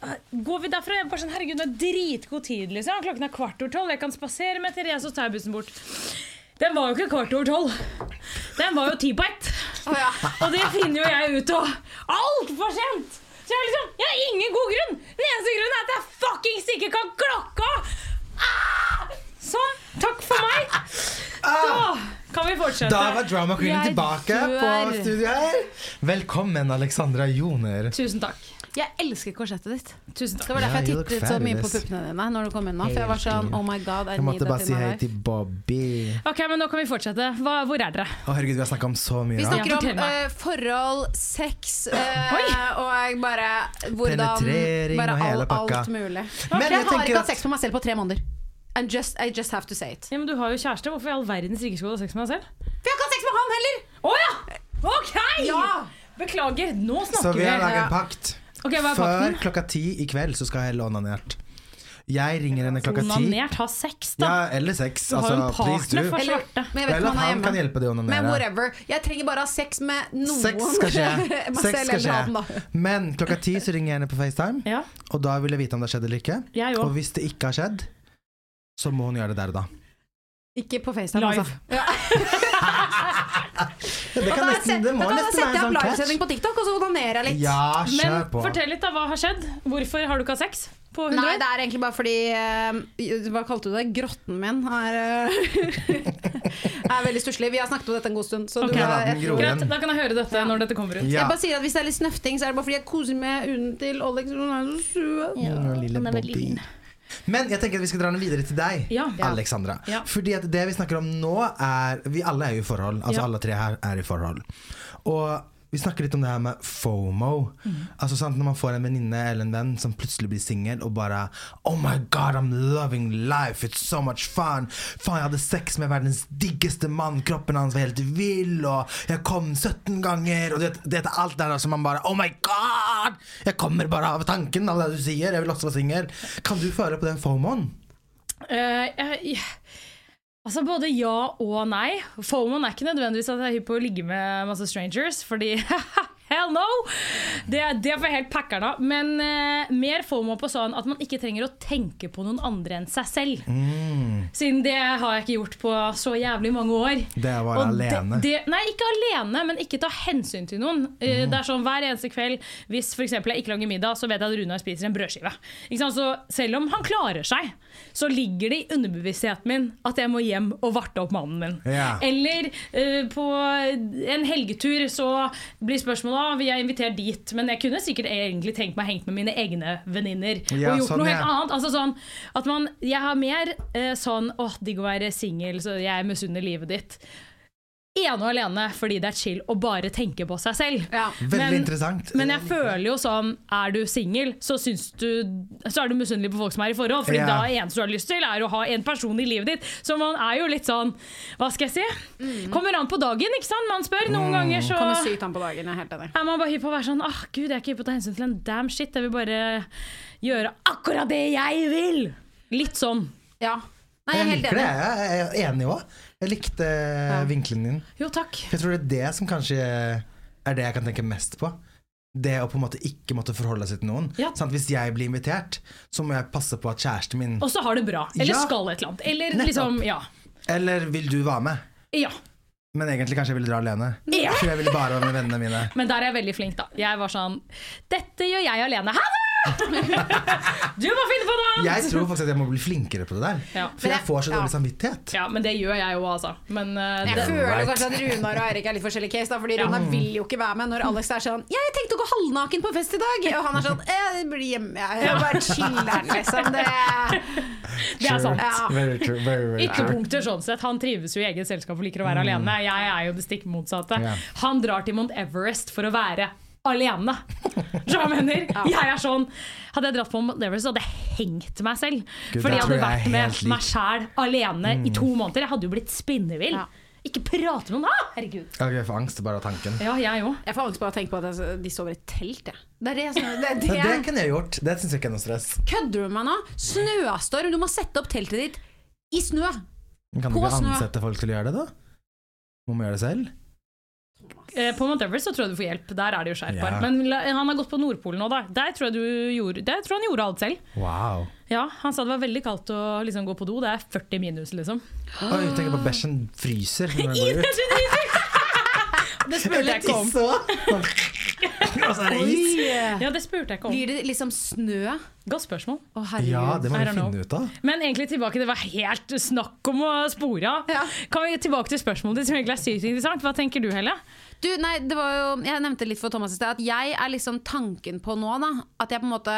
Speaker 4: eh, går vi derfra. Jeg er bare sånn, herregud, det er dritgod tid. liksom. Klokken er kvart over tolv. Jeg kan spasere med Therese, og så tar jeg bussen bort. Den var jo ikke kvart over tolv. Den var jo ti på ett.
Speaker 2: Å, ja.
Speaker 4: Og det finner jo jeg ut av altfor sent! Så jeg er liksom, jeg har ingen god grunn! Den eneste grunnen er at jeg fuckings ikke kan klokka! Ah! Sånn. Takk for meg. Så kan vi fortsette.
Speaker 3: Ah, Da var drama queenen
Speaker 2: Jeg
Speaker 3: tilbake
Speaker 2: dør.
Speaker 3: på studio her. Velkommen, Alexandra Joner.
Speaker 4: Tusen takk.
Speaker 2: Jeg elsker korsettet ditt.
Speaker 4: Tusen
Speaker 2: Det var
Speaker 4: takk.
Speaker 3: Ja,
Speaker 2: derfor jeg
Speaker 3: you look
Speaker 2: tittet så mye på
Speaker 3: fabulous.
Speaker 2: puppene dine når du kom inn nå. For jeg var sånn Oh my god, I
Speaker 3: Jeg
Speaker 2: need
Speaker 3: måtte bare
Speaker 2: that
Speaker 3: si
Speaker 2: in my
Speaker 3: hei
Speaker 2: life.
Speaker 3: til Bobby.
Speaker 4: Ok, men Nå kan vi fortsette. Hva, hvor er dere?
Speaker 3: Å herregud, vi har snakka om så mye
Speaker 2: Vi
Speaker 3: rart.
Speaker 2: snakker om
Speaker 4: fortell meg.
Speaker 2: eh, forhold, sex eh,
Speaker 4: Oi.
Speaker 2: og jeg bare hvordan
Speaker 3: Penetrering
Speaker 2: bare
Speaker 3: og hele
Speaker 2: alt-
Speaker 3: pakka.
Speaker 2: Alt mulig.
Speaker 3: Men
Speaker 2: jeg,
Speaker 3: jeg
Speaker 2: har
Speaker 3: tenker
Speaker 2: ikke
Speaker 3: at-
Speaker 2: hatt sex med meg selv på tre måneder. And just, I just have to say it.
Speaker 4: Ja, men Du har jo kjæreste. Hvorfor i all verdens ikke skulle du ha sex med deg selv?
Speaker 2: For jeg har ikke hatt sex med han heller!
Speaker 4: Å ja! Ok!
Speaker 2: Ja!
Speaker 4: Beklager, nå
Speaker 3: Så
Speaker 4: snakker
Speaker 3: vi
Speaker 4: vi.
Speaker 3: har laget
Speaker 4: Ja.
Speaker 3: en pakt.
Speaker 4: Ok, hva er
Speaker 3: Før
Speaker 4: pakten?
Speaker 3: klokka ti i kveld så skal jeg helle onanert. Jeg ringer henne klokka ti.
Speaker 4: Onanert, ha sex, da.
Speaker 3: Ja, eller sex.
Speaker 4: Du har jo
Speaker 3: Altså,
Speaker 4: en
Speaker 3: please
Speaker 4: partner
Speaker 3: do.
Speaker 4: for
Speaker 2: Eller-
Speaker 4: svarte.
Speaker 2: Men jeg vet ikke om
Speaker 3: Eller
Speaker 2: han
Speaker 3: at
Speaker 2: er
Speaker 3: han
Speaker 2: hjemme.
Speaker 3: kan hjelpe deg å
Speaker 2: Men
Speaker 3: onanere.
Speaker 2: whatever. Jeg trenger bare ha sex med noen.
Speaker 3: Sex skal skje.
Speaker 2: Marcel
Speaker 3: Sex skal
Speaker 2: eller Aden, da.
Speaker 3: skje. Men klokka ti så ringer jeg henne på FaceTime,
Speaker 4: Ja,
Speaker 3: og da vil jeg vite om det har skjedd eller ikke.
Speaker 4: jeg
Speaker 3: Og
Speaker 4: òg.
Speaker 3: hvis det ikke har skjedd, så må hun gjøre det der og da.
Speaker 2: Ikke på FaceTime,
Speaker 4: Live.
Speaker 2: altså. Ja.
Speaker 3: Det,
Speaker 2: Da
Speaker 3: kan
Speaker 2: kan jeg
Speaker 3: nesten,
Speaker 2: se-
Speaker 3: det må
Speaker 2: da kan jeg
Speaker 3: nesten
Speaker 2: sette
Speaker 3: være
Speaker 2: opp
Speaker 3: en
Speaker 2: livesending
Speaker 3: sånn catch.
Speaker 2: på TikTok, og så onanerer jeg litt.
Speaker 3: Ja,
Speaker 4: Men
Speaker 3: kjør på.
Speaker 4: fortell litt, da. Hva har skjedd? Hvorfor har du ikke hatt sex på 100
Speaker 2: Nei,
Speaker 4: år?
Speaker 2: det er egentlig bare fordi eh, Hva kalte du det? Grotten min er, eh, er veldig stusslig. Vi har snakket om dette en god stund. Så
Speaker 4: Ok.
Speaker 2: du,
Speaker 3: Ja, den gror
Speaker 4: Greit,
Speaker 3: igjen.
Speaker 4: da kan jeg høre dette når dette kommer ut.
Speaker 3: Ja.
Speaker 2: Jeg bare sier at Hvis det er litt snøfting, så er det bare fordi jeg koser med unen til Alex. og Hun er så søt.
Speaker 3: Å, lille Bobby. Men jeg tenker at vi skal dra den videre til deg,
Speaker 4: Ja.
Speaker 3: Alexandra.
Speaker 4: Ja.
Speaker 3: Fordi at det vi snakker om nå, er Vi alle er jo i forhold. Altså
Speaker 4: Ja.
Speaker 3: alle tre her er i forhold. Og vi snakker litt om det her med FOMO.
Speaker 4: Mm.
Speaker 3: Altså sant, Når man får en venninne eller en venn som plutselig blir singel og bare Oh my god, I'm loving life, it's so much fun. Faen, jeg hadde sex med verdens diggeste mann, kroppen hans var helt vill, og jeg kom 17 ganger, og du vet, det er alt der da som man bare Oh my god! Jeg kommer bare av tanken, av det du sier. Jeg vil også være singel. Kan du føle på den FOMO-en?
Speaker 4: Eh, jeg- altså Både ja og nei. FOMOen er ikke nødvendigvis at jeg er hypp på å ligge med masse strangers, fordi Hell no! Det, det får jeg helt packeren av. Men eh, mer FOMO på sånn at man ikke trenger å tenke på noen andre enn seg selv. Siden det har jeg ikke gjort på så jævlig mange år.
Speaker 3: Mm. Det er å være
Speaker 4: Og
Speaker 3: alene.
Speaker 4: Det, det, nei, ikke alene, men ikke ta hensyn til noen. Eh,
Speaker 3: Mhm.
Speaker 4: Det er sånn Hver eneste kveld, hvis for eksempel jeg ikke lager middag, så vet jeg at Runar spiser en brødskive. Ikke sant? Så selv om han klarer seg, så ligger det i underbevisstheten min at jeg må hjem og varte opp mannen min.
Speaker 3: Ja.
Speaker 4: Eller eh, på en helgetur så blir spørsmålet ah, vil jeg invitert dit, men jeg kunne sikkert egentlig tenkt meg hengt med mine egne venninner
Speaker 3: Ja,
Speaker 4: og gjort
Speaker 3: sånn,
Speaker 4: noe
Speaker 3: ja.
Speaker 4: helt annet. Altså sånn at man Jeg har mer eh, sånn åh, digg å være singel, så jeg misunner livet ditt. Ene og alene fordi det er chill å bare tenke på seg selv.
Speaker 2: Ja.
Speaker 3: Veldig
Speaker 4: Men-
Speaker 3: interessant.
Speaker 4: Men jeg føler jo sånn Er du singel, så, syns du- så er du misunnelig på folk som er i forhold. Fordi
Speaker 3: Ja.
Speaker 4: da det eneste du har lyst til, er å ha en person i livet ditt. Så man er jo litt sånn Hva skal jeg si? Kommer an på dagen, ikke sant? Man spør.
Speaker 3: Mm.
Speaker 4: Noen ganger så
Speaker 2: Kommer sykt an på dagen. Jeg er helt enig.
Speaker 4: er man bare hypp på å være sånn Åh, gud, jeg er ikke hypp på å ta hensyn til en damn shit. Jeg vil bare gjøre akkurat det jeg vil! Litt sånn.
Speaker 2: Ja. Nei, jeg er
Speaker 3: jeg
Speaker 2: helt
Speaker 3: liker det.
Speaker 2: enig.
Speaker 3: Jeg er- jeg er enig òg. Jeg likte vinkelen din.
Speaker 4: Jo, takk.
Speaker 3: For jeg tror det er det som kanskje er det jeg kan tenke mest på. Det å på en måte ikke måtte forholde seg til noen.
Speaker 4: Ja.
Speaker 3: Sant? Hvis jeg blir invitert, så må jeg passe på at kjæresten min
Speaker 4: Og så har det bra. Eller
Speaker 3: Ja.
Speaker 4: skal et eller annet. Eller
Speaker 3: Nettopp.
Speaker 4: liksom Ja.
Speaker 3: Eller vil du være med?
Speaker 4: ja.
Speaker 3: Men egentlig kanskje jeg ville dra alene.
Speaker 4: Ja.
Speaker 3: Jeg tror jeg ville bare være med vennene mine.
Speaker 4: Men der er jeg veldig flink, da. Jeg var sånn Dette gjør jeg alene. Ha det! du må finne på noe annet!
Speaker 3: Jeg tror faktisk at jeg må bli flinkere på det der.
Speaker 4: Ja.
Speaker 3: For jeg får så dårlig samvittighet.
Speaker 4: Ja, men det gjør jeg jo, altså. Men eh,
Speaker 2: Jeg
Speaker 4: det,
Speaker 2: føler
Speaker 3: Right.
Speaker 2: kanskje at Runar og Eirik er litt forskjellige case, da, fordi
Speaker 4: Ja.
Speaker 2: Runar vil jo ikke være med når Alex er sånn 'Jeg tenkte å gå halvnaken på fest i dag', og han er sånn 'Jeg blir hjemme, jeg. jeg bare chiller'n', liksom. Det
Speaker 4: det er sant.
Speaker 2: Ja.
Speaker 3: Very true, very, very true.
Speaker 4: Ytterpunkter sånn sett. Han trives jo i eget selskap og liker å være alene. Jeg er jo det stikk motsatte.
Speaker 3: Mm. Ja.
Speaker 4: Han drar til Mount Everest for å være alene. Så jeg mener, jeg er sånn Hadde jeg dratt på Mount Everest, så hadde jeg hengt meg selv.
Speaker 3: Gud,
Speaker 4: Fordi
Speaker 3: der
Speaker 4: jeg
Speaker 3: tror
Speaker 4: hadde
Speaker 3: jeg
Speaker 4: vært
Speaker 3: er
Speaker 4: med
Speaker 3: helt Mm. lik.
Speaker 4: meg sjæl alene i to måneder. Jeg hadde jo blitt spinnevill.
Speaker 2: Ja.
Speaker 4: Ikke prate med noen! Ah, herregud.
Speaker 3: Ok, Jeg får angst bare av tanken.
Speaker 4: Ja, jeg òg.
Speaker 2: Jeg får angst bare av å tenke på at jeg- de sover i telt, jeg. Det er det, jeg synes- det, er
Speaker 3: Men det
Speaker 2: det.
Speaker 3: kunne jeg gjort. Det syns jeg ikke er noe stress.
Speaker 2: Kødder du med meg nå? Snøstorm! Du må sette opp teltet ditt i snø!
Speaker 3: Kan du
Speaker 2: På
Speaker 3: ikke
Speaker 2: snø.
Speaker 3: ansette folk til å gjøre det, da? Må man gjøre det selv?
Speaker 4: Eh, På Mount Everest så tror jeg du får hjelp. Der er det jo skjerper.
Speaker 3: Ja.
Speaker 4: Men la- han har gått på Nordpolen nå, da. Der tror jeg, du gjorde, der tror jeg han gjorde alt selv.
Speaker 3: Wow.
Speaker 4: Ja, Han sa det var veldig kaldt å liksom, gå på do. Det er 40 minus, liksom.
Speaker 3: Oi, tenk på bæsjen fryser når den går ut.
Speaker 4: Det spurte jeg Altså, ikke om.
Speaker 3: Og så er det is.
Speaker 4: Ja, det spurte jeg ikke om.
Speaker 2: Blir det liksom snø?
Speaker 4: Godt spørsmål.
Speaker 2: Å,
Speaker 3: Ja,
Speaker 2: herregud.
Speaker 3: det må
Speaker 4: I
Speaker 3: vi
Speaker 4: don't know.
Speaker 3: finne ut av.
Speaker 4: Men egentlig tilbake, det var helt snakk om å spore av.
Speaker 2: Ja.
Speaker 4: Kan vi tilbake til spørsmålet ditt, som egentlig er sykt interessant. Hva tenker du, Helle?
Speaker 2: Du, nei, det var jo Jeg nevnte litt for Thomas i sted at jeg er liksom tanken på nå, da. At jeg på en måte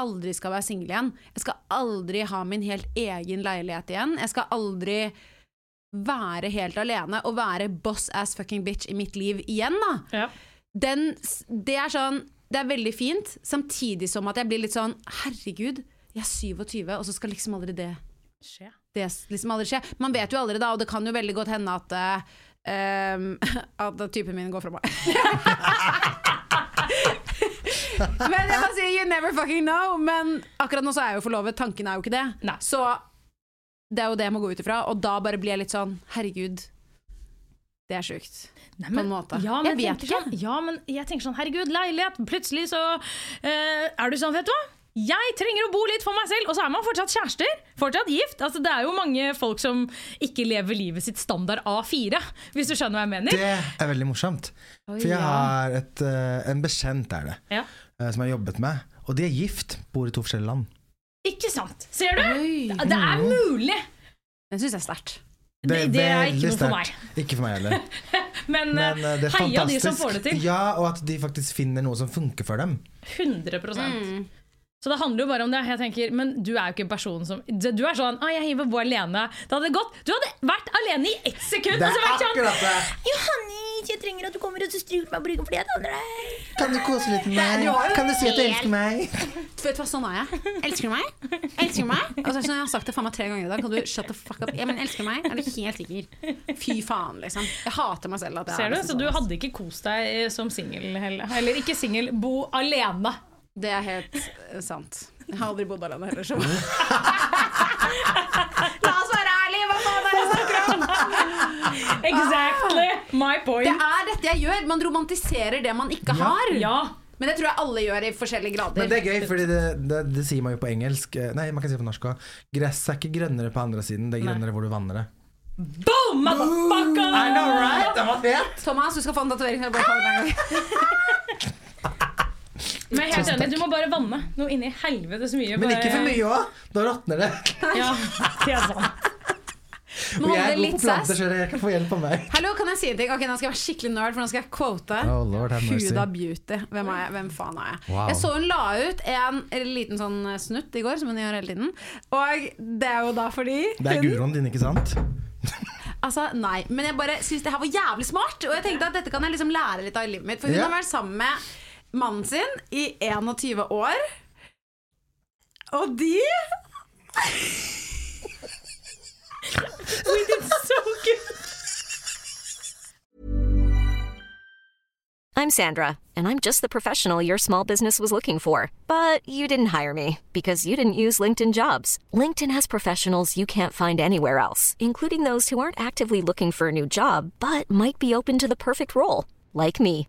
Speaker 2: aldri skal være singel igjen. Jeg skal aldri ha min helt egen leilighet igjen. Jeg skal aldri være helt alene og være boss ass fucking bitch i mitt liv igjen, da
Speaker 4: Ja.
Speaker 2: den, det er sånn Det er veldig fint, samtidig som at jeg blir litt sånn Herregud, jeg er 27, og så skal liksom aldri det
Speaker 4: Skje.
Speaker 2: Det s- liksom aldri skje. Man vet jo aldri da, og det kan jo veldig godt hende at eh, ehm, at typen min går fra meg. men jeg må si you never fucking know. Men akkurat nå så er jeg jo forlovet, tanken er jo ikke det.
Speaker 4: Nei.
Speaker 2: Så det er jo det jeg må gå ut ifra, og da bare blir jeg litt sånn herregud, det er sjukt.
Speaker 4: Nei,
Speaker 2: en måte.
Speaker 4: Ja,
Speaker 2: Jeg
Speaker 4: men jeg
Speaker 2: vet
Speaker 4: tenker
Speaker 2: ikke.
Speaker 4: Sånn, ja, men jeg tenker sånn, herregud, leilighet. Plutselig så eh, er du sånn, vet du hva? Jeg trenger å bo litt for meg selv, og så er man fortsatt kjærester. Fortsatt gift. Altså, det er jo mange folk som ikke lever livet sitt standard A4, hvis du skjønner hva jeg mener.
Speaker 3: Det er veldig morsomt. For jeg
Speaker 4: ja.
Speaker 3: har et, eh, en bekjent er det,
Speaker 4: Ja.
Speaker 3: eh, som jeg har jobbet med. Og de er gift, bor i to forskjellige land.
Speaker 4: Ikke sant? Ser du?
Speaker 2: Oi.
Speaker 4: Det det er mulig!
Speaker 2: Den syns jeg er sterkt.
Speaker 4: Det, det er ikke
Speaker 3: veldig
Speaker 4: noe for meg.
Speaker 3: sterkt. Ikke for meg heller.
Speaker 4: Men,
Speaker 3: Men eh, det
Speaker 4: eh,
Speaker 3: er
Speaker 4: heia de som
Speaker 3: fantastisk.
Speaker 4: får det til.
Speaker 3: Ja, og at de faktisk finner noe som funker for dem.
Speaker 4: 100 Så det handler jo bare om det. Jeg tenker, Men du er jo ikke en person som Du du er sånn 'Å, jeg vil bo alene'. Det hadde gått. Du hadde vært alene i ett sekund!
Speaker 3: Det
Speaker 4: og så
Speaker 3: er
Speaker 4: vært sånn,
Speaker 3: akkurat det!
Speaker 5: Johanne, jeg trenger at du kommer og så stryker meg på ryggen fordi jeg danner deg.
Speaker 3: Kan du kose litt med meg? Kan du si at du elsker meg?
Speaker 2: Vet du hva, sånn er jeg. Elsker du meg? Elsker du meg? Og så er det sånn, jeg har sagt det faen meg tre ganger i dag. Kan du shut the fuck up? Ja, men elsker du meg? Er du helt sikker? Fy faen, liksom. Jeg hater meg selv at jeg
Speaker 4: Ser du?
Speaker 2: er liksom sånn.
Speaker 4: Så du hadde ikke kost deg eh, som singel heller. Eller ikke singel, bo alene.
Speaker 2: Det er helt eh, sant. Jeg har aldri bodd alene heller, så La oss være ærlige! Hva faen er det jeg snakker om?
Speaker 4: Exactly my
Speaker 2: Det
Speaker 4: point.
Speaker 2: er dette jeg gjør. Man romantiserer det man ikke har.
Speaker 4: Ja.
Speaker 2: Men det tror jeg alle gjør i forskjellige
Speaker 3: Men
Speaker 2: grader.
Speaker 3: det er gøy, fordi det, det, det sier man jo på engelsk. Eh, Nei, man kan si det på norsk òg. Gresset er ikke grønnere på andre siden, det er grønnere hvor du vanner det.
Speaker 4: Boom, motherfucker!
Speaker 3: I know, right? Det var fett!
Speaker 2: Thomas, du skal få en tatovering. så jeg bare tar den en gang.
Speaker 4: Men jeg er helt enig, du må bare vanne noe inni helvete så mye.
Speaker 3: Men
Speaker 4: bare-
Speaker 3: ikke for mye òg! Da råtner det.
Speaker 4: Ja, det er sant.
Speaker 2: Må
Speaker 3: Jeg
Speaker 2: holde
Speaker 3: er
Speaker 2: det
Speaker 3: god
Speaker 2: litt
Speaker 3: på planter,
Speaker 2: sass.
Speaker 3: så jeg kan få hjelp av meg.
Speaker 2: Hallo, kan jeg si en ting? Ok, Nå skal jeg være skikkelig nerd, for nå skal jeg quote.
Speaker 3: Oh, Lord, have mercy.
Speaker 2: Huda Beauty. Hvem, er jeg? Hvem faen er jeg?
Speaker 3: Wow.
Speaker 2: Jeg så hun la ut en liten sånn snutt i går, som hun gjør hele tiden. Og det er jo da fordi
Speaker 3: Det er
Speaker 2: hun-
Speaker 3: guroen din, ikke sant?
Speaker 2: Altså, nei. Men jeg bare syns det her var jævlig smart, og jeg tenkte at dette kan jeg liksom lære litt av i livet mitt. For hun
Speaker 3: Ja.
Speaker 2: har vært sammen med mannen sin i 21 år, og de
Speaker 4: We did so good.
Speaker 1: I'm Sandra, and I'm just the professional your small business was looking for. But you didn't hire me because you didn't use LinkedIn jobs. LinkedIn has professionals you can't find anywhere else, including those who aren't actively looking for a new job but might be open to the perfect role, like me.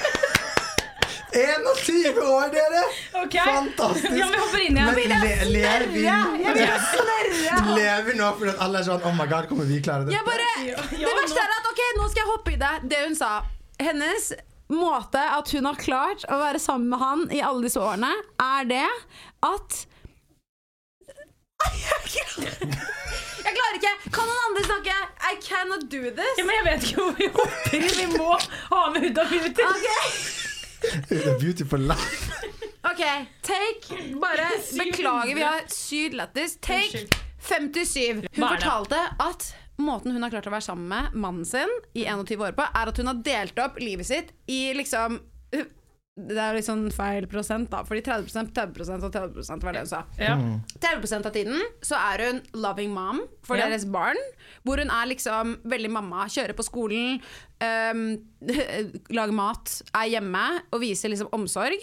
Speaker 3: 21 år, dere!
Speaker 4: Ok.
Speaker 3: Fantastisk.
Speaker 4: Ja, vi hopper inn igjen.
Speaker 3: Men le, ler vi
Speaker 2: Jeg blir snørre!
Speaker 3: Ler vi nå fordi at alle er sånn Oh my god, kommer vi klare det?
Speaker 2: Jeg bare, det verste er at ok, nå skal jeg hoppe i det. Det hun sa. Hennes måte at hun har klart å være sammen med han i alle disse årene, er det at Jeg klarer ikke! Kan noen andre snakke? I cannot do this.
Speaker 4: Ja, men jeg vet ikke hvor vi hopper i. Vi må ha med Huda Beauty.
Speaker 2: Ok,
Speaker 3: The beautiful life.
Speaker 2: ok, take Bare beklager, vi har sydd lættis. Take 57. Hun
Speaker 4: Hva er det?
Speaker 2: fortalte at måten hun har klart å være sammen med mannen sin i 21 år på, er at hun har delt opp livet sitt i liksom Det er jo litt sånn feil prosent, da. Fordi 30 30 og 30 var det hun sa.
Speaker 4: Ja.
Speaker 2: 30 av tiden så er hun loving mom for
Speaker 4: Ja.
Speaker 2: deres barn. Hvor hun er liksom veldig mamma. Kjører på skolen, øhm, lager mat, er hjemme og viser liksom omsorg.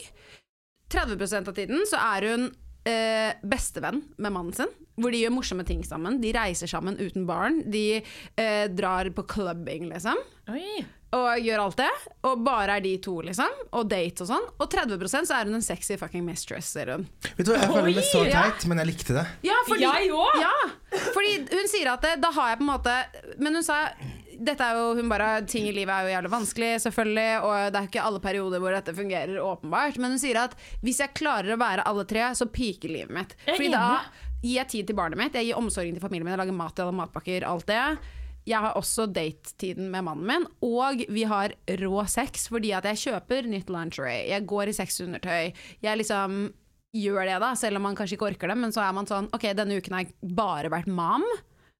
Speaker 2: 30 av tiden så er hun eh, bestevenn med mannen sin. Hvor de gjør morsomme ting sammen. De reiser sammen uten barn. De eh, drar på clubbing, liksom.
Speaker 4: Oi.
Speaker 2: Og gjør alt det. Og bare er de to, liksom. Og date og sånn. Og 30 så er hun en sexy fucking mistress, sier hun.
Speaker 3: Vet du hva, Jeg føler det så
Speaker 2: Oi, ja.
Speaker 3: teit, men jeg likte det.
Speaker 2: Ja, fordi,
Speaker 4: Jeg òg!
Speaker 2: Ja, fordi hun sier at det, da har jeg på en måte Men hun sa dette er jo, hun bare, Ting i livet er jo jævlig vanskelig, selvfølgelig, og det er jo ikke alle perioder hvor dette fungerer, åpenbart. Men hun sier at hvis jeg klarer å være alle tre, så piker livet mitt.
Speaker 4: Jeg er
Speaker 2: Fordi da gir jeg tid til barnet mitt, jeg gir omsorgen til familien min, jeg lager mat til alle matpakker, alt det. Jeg har også datetiden med mannen min, og vi har rå sex fordi at jeg kjøper nytt lingerie, jeg går i sexundertøy, jeg liksom gjør det, da, selv om man kanskje ikke orker det. Men så er man sånn OK, denne uken har jeg bare vært mam.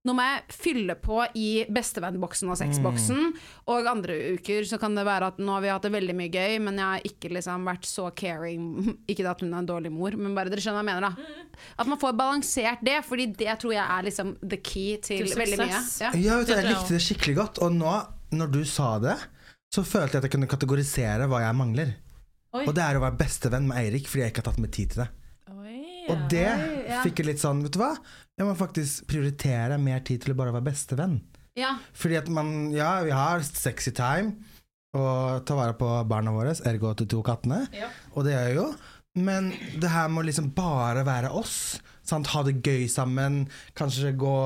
Speaker 2: Nå må jeg fylle på i bestevennboksen og sexboksen.
Speaker 4: Mm.
Speaker 2: Og andre uker så kan det være at nå har vi hatt det veldig mye gøy, men jeg har ikke liksom vært så caring. Ikke det at hun er en dårlig mor, men bare dere skjønner hva jeg mener,
Speaker 4: Mm.
Speaker 2: da. At man får balansert det, fordi det tror jeg er liksom the key til,
Speaker 4: Til
Speaker 2: veldig mye.
Speaker 4: suksess.
Speaker 2: Ja.
Speaker 3: Ja, vet du,
Speaker 4: Det
Speaker 3: jeg
Speaker 4: tror jeg også.
Speaker 3: likte det skikkelig godt. Og nå, når du sa det, så følte jeg at jeg kunne kategorisere hva jeg mangler.
Speaker 4: Oi.
Speaker 3: Og det er å være bestevenn med Eirik fordi jeg ikke har tatt meg tid til det. Og det fikk jeg litt sånn, vet du hva? Jeg må faktisk prioritere mer tid til å bare være bestevenn.
Speaker 2: Ja.
Speaker 3: Fordi at man, ja, vi har sexy time og ta vare på barna våre, ergo til to kattene,
Speaker 4: Ja.
Speaker 3: og det gjør jeg jo. Men det her må liksom bare være oss. Sant? Ha det gøy sammen, kanskje gå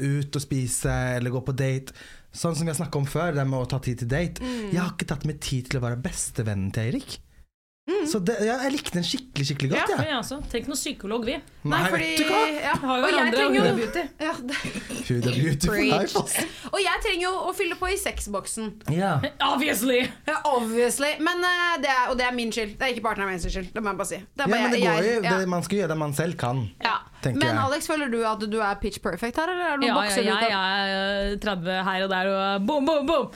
Speaker 3: ut og spise eller gå på date. Sånn som jeg snakka om før, det med å ta tid til date.
Speaker 2: Mm.
Speaker 3: Jeg har ikke tatt meg tid til å være bestevennen til Eirik.
Speaker 2: Mm.
Speaker 3: Så det, ja, jeg likte den skikkelig, skikkelig godt.
Speaker 4: Ja,
Speaker 3: jeg.
Speaker 4: jeg også. altså, Tenk noe psykolog, vi.
Speaker 2: Nei,
Speaker 3: vet du
Speaker 2: fordi
Speaker 3: hva?
Speaker 2: ja.
Speaker 4: Har jo
Speaker 2: Og jeg trenger
Speaker 4: hverandre, og
Speaker 2: jo
Speaker 4: hun er beauty.
Speaker 2: ja, det-
Speaker 3: Food and beauty for
Speaker 2: Preach.
Speaker 3: life, ass.
Speaker 2: Og jeg trenger jo å fylle på i sexboksen.
Speaker 3: Ja.
Speaker 4: Obviously!
Speaker 2: Ja, obviously. Men, eh, det er, og det er min skyld. Det er ikke partneren min sin skyld. Det må jeg bare si. Det
Speaker 3: Ja,
Speaker 2: er bare
Speaker 3: men det
Speaker 2: jeg-
Speaker 3: går jo,
Speaker 2: ja.
Speaker 3: det, man skal gjøre det man selv kan.
Speaker 2: ja.
Speaker 3: tenker
Speaker 2: Men
Speaker 3: jeg.
Speaker 2: Alex, føler du at du er pitch perfect her, eller er du
Speaker 4: Ja, ja,
Speaker 2: bokser du
Speaker 4: ja,
Speaker 2: ut av-
Speaker 4: jeg er 30 her og der og boom, boom, boom.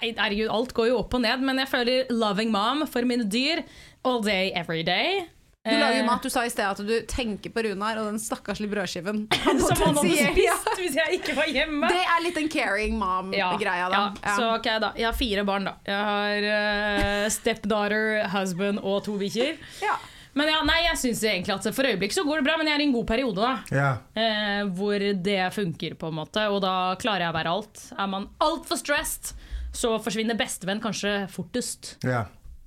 Speaker 4: Nei, herregud, alt går jo opp og ned, men jeg føler loving mom for mine dyr all day, every day.
Speaker 2: Du lager
Speaker 4: Eh,
Speaker 2: mat. Du sa i sted at du tenker på Runar og den stakkarslige brødskiven. Han
Speaker 4: Som han hadde
Speaker 2: potensielt- Ja.
Speaker 4: spist hvis jeg ikke var hjemme.
Speaker 2: Det er litt den caring
Speaker 4: Ja,
Speaker 2: mom-greia, da.
Speaker 4: ja. Så ok, da. Jeg har fire barn, da. Jeg har eh, stepdaughter, husband og to bikkjer.
Speaker 2: Ja.
Speaker 4: Men ja, nei, jeg syns egentlig at for øyeblikk så går det bra, men jeg er i en god periode, da.
Speaker 3: Ja.
Speaker 4: Eh, hvor det funker, på en måte. Og da klarer jeg å være alt. Er man altfor stressed, så forsvinner bestevenn kanskje fortest.
Speaker 3: ja.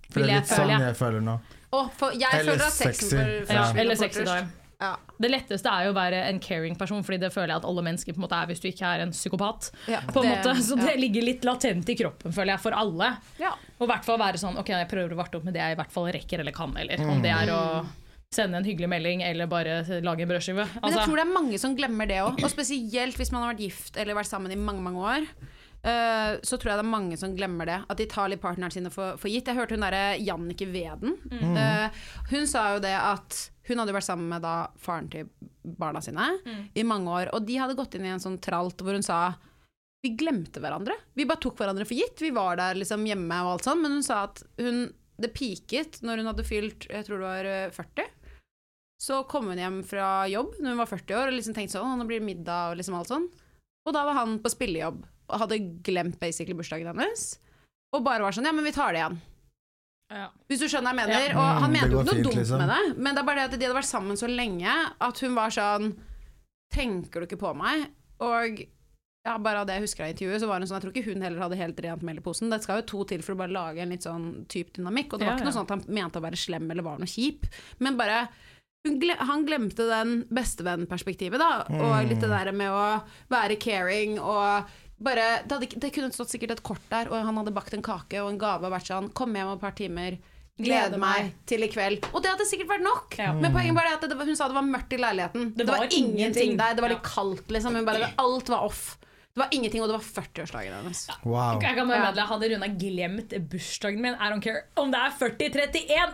Speaker 3: For
Speaker 4: Vil
Speaker 3: det er
Speaker 4: jeg
Speaker 3: litt sånn
Speaker 4: føle.
Speaker 3: jeg føler nå.
Speaker 2: Å, for jeg
Speaker 3: Eller
Speaker 2: føler at sexen
Speaker 3: sexy.
Speaker 2: for, for
Speaker 3: Ja,
Speaker 2: forsvinner
Speaker 4: eller
Speaker 2: fort
Speaker 4: sexy
Speaker 2: først.
Speaker 4: time.
Speaker 2: Ja.
Speaker 4: Det letteste er jo å være en caring person, Fordi det føler jeg at alle mennesker på en måte er hvis du ikke er en psykopat.
Speaker 2: Ja,
Speaker 4: på en
Speaker 2: det-
Speaker 4: måte. Så
Speaker 2: ja.
Speaker 4: det ligger litt latent i kroppen, føler jeg, for alle.
Speaker 2: Ja.
Speaker 4: Og i hvert fall være sånn Ok, jeg prøver å varte opp med det jeg i hvert fall rekker eller kan. Eller om det er å sende en hyggelig melding eller bare lage en brødskive.
Speaker 2: Men jeg
Speaker 4: Altså,
Speaker 2: tror det er mange som glemmer det òg. Og spesielt hvis man har vært gift eller vært sammen i mange mange år. eh, så tror jeg det er mange som glemmer det. At de tar litt partneren sine for, for gitt. Jeg hørte hun derre Jannicke Veden. eh, hun sa jo det at hun hadde vært sammen med da faren til barna sine i mange år. Og de hadde gått inn i en sånn tralt hvor hun sa vi glemte hverandre. Vi bare tok hverandre for gitt. Vi var der liksom hjemme og alt sånn. Men hun sa at hun, det piket når hun hadde fylt jeg tror det var eh, 40. Så kom hun hjem fra jobb når hun var 40 år og liksom tenkte sånn, «Å, nå blir det middag og liksom alt sånn. Og da var han på spillejobb og hadde glemt basically bursdagen hennes. Og bare var sånn ja, men vi tar det igjen.
Speaker 4: ja.
Speaker 2: Hvis du skjønner hva jeg mener.
Speaker 4: Ja.
Speaker 2: Og han
Speaker 3: Mm,
Speaker 2: mente
Speaker 3: det
Speaker 2: jo
Speaker 3: går
Speaker 2: ikke noe
Speaker 3: fint,
Speaker 2: dumt
Speaker 3: liksom.
Speaker 2: med det, men det er bare det at de hadde vært sammen så lenge at hun var sånn Tenker du ikke på meg? Og ja, bare av det jeg husker av intervjuet, så var hun sånn Jeg tror ikke hun heller hadde helt rent mel i posen. Det skal jo to til for å bare lage en litt sånn type dynamikk. Og det var
Speaker 4: Ja,
Speaker 2: ikke
Speaker 4: ja.
Speaker 2: noe sånn at han mente å være slem eller var noe kjip, men bare hun gle han glemte den bestevennperspektivet, da. Og litt det
Speaker 4: Mm.
Speaker 2: der med å være caring og bare Det, hadde, ikke- det kunne stått sikkert et kort der, og han hadde bakt en kake og en gave og vært sånn Kom hjem om et par timer. Gleder
Speaker 4: Gleder
Speaker 2: meg
Speaker 4: meg.
Speaker 2: til i kveld. Og det hadde sikkert vært nok.
Speaker 4: Ja.
Speaker 2: Men poenget bare er at det, var- hun sa det var mørkt i leiligheten. Det, var,
Speaker 4: var
Speaker 2: ingenting
Speaker 4: ingenting.
Speaker 2: der. Det var litt
Speaker 4: Ja.
Speaker 2: kaldt, liksom. Hun bare, alt var off. Det var ingenting, og det var 40-årsdagen hennes.
Speaker 3: Wow.
Speaker 4: Jeg kan bare meddele, hadde Runa glemt bursdagen min, I don't care om det er 40-31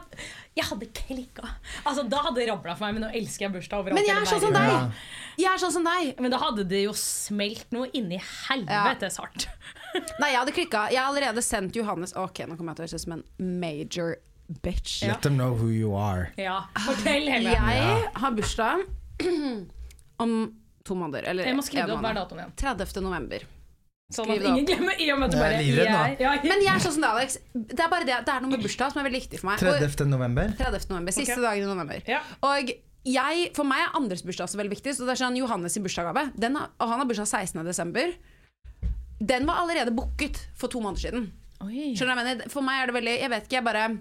Speaker 4: Jeg hadde klikka. Altså, da hadde det rabla for meg, men nå elsker jeg bursdag overalt.
Speaker 2: Men jeg
Speaker 4: hele
Speaker 2: er sånn som
Speaker 4: verden.
Speaker 3: Ja.
Speaker 2: deg! Jeg er sånn som deg.
Speaker 4: Men da hadde det jo smelt noe inni helvetes hardt.
Speaker 2: Nei, jeg hadde klikka. Jeg har allerede sendt Johannes Ok, nå kommer jeg til å høres ut som en major bitch.
Speaker 3: Let them know who you are.
Speaker 4: Ja, fortell hele.
Speaker 2: Jeg har bursdag om to måneder. Eller
Speaker 4: Jeg må skrive
Speaker 2: en
Speaker 4: det opp hver
Speaker 2: måned.
Speaker 4: datoen igjen.
Speaker 2: 30. november.
Speaker 4: Sånn
Speaker 2: Skriv
Speaker 4: at
Speaker 2: det opp.
Speaker 4: ingen glemmer i og med at du
Speaker 3: Jeg er
Speaker 4: bare
Speaker 3: livredd nå.
Speaker 4: jeg- ja, jeg-
Speaker 2: Men jeg er sånn som deg, Alex. Det er bare det, det er noe med bursdag som er veldig viktig for meg. Og-
Speaker 3: 30. november.
Speaker 2: 30. november. Siste
Speaker 4: Ok.
Speaker 2: dagen i november.
Speaker 4: Ja.
Speaker 2: Og jeg, for meg er andres bursdag også veldig viktig. Så det er sånn Johannes sin bursdagsgave. Den har- Og han har bursdag 16.12. Den var allerede booket for to måneder siden.
Speaker 4: Oi.
Speaker 2: Skjønner du hva jeg mener? For meg er det veldig Jeg vet ikke, jeg bare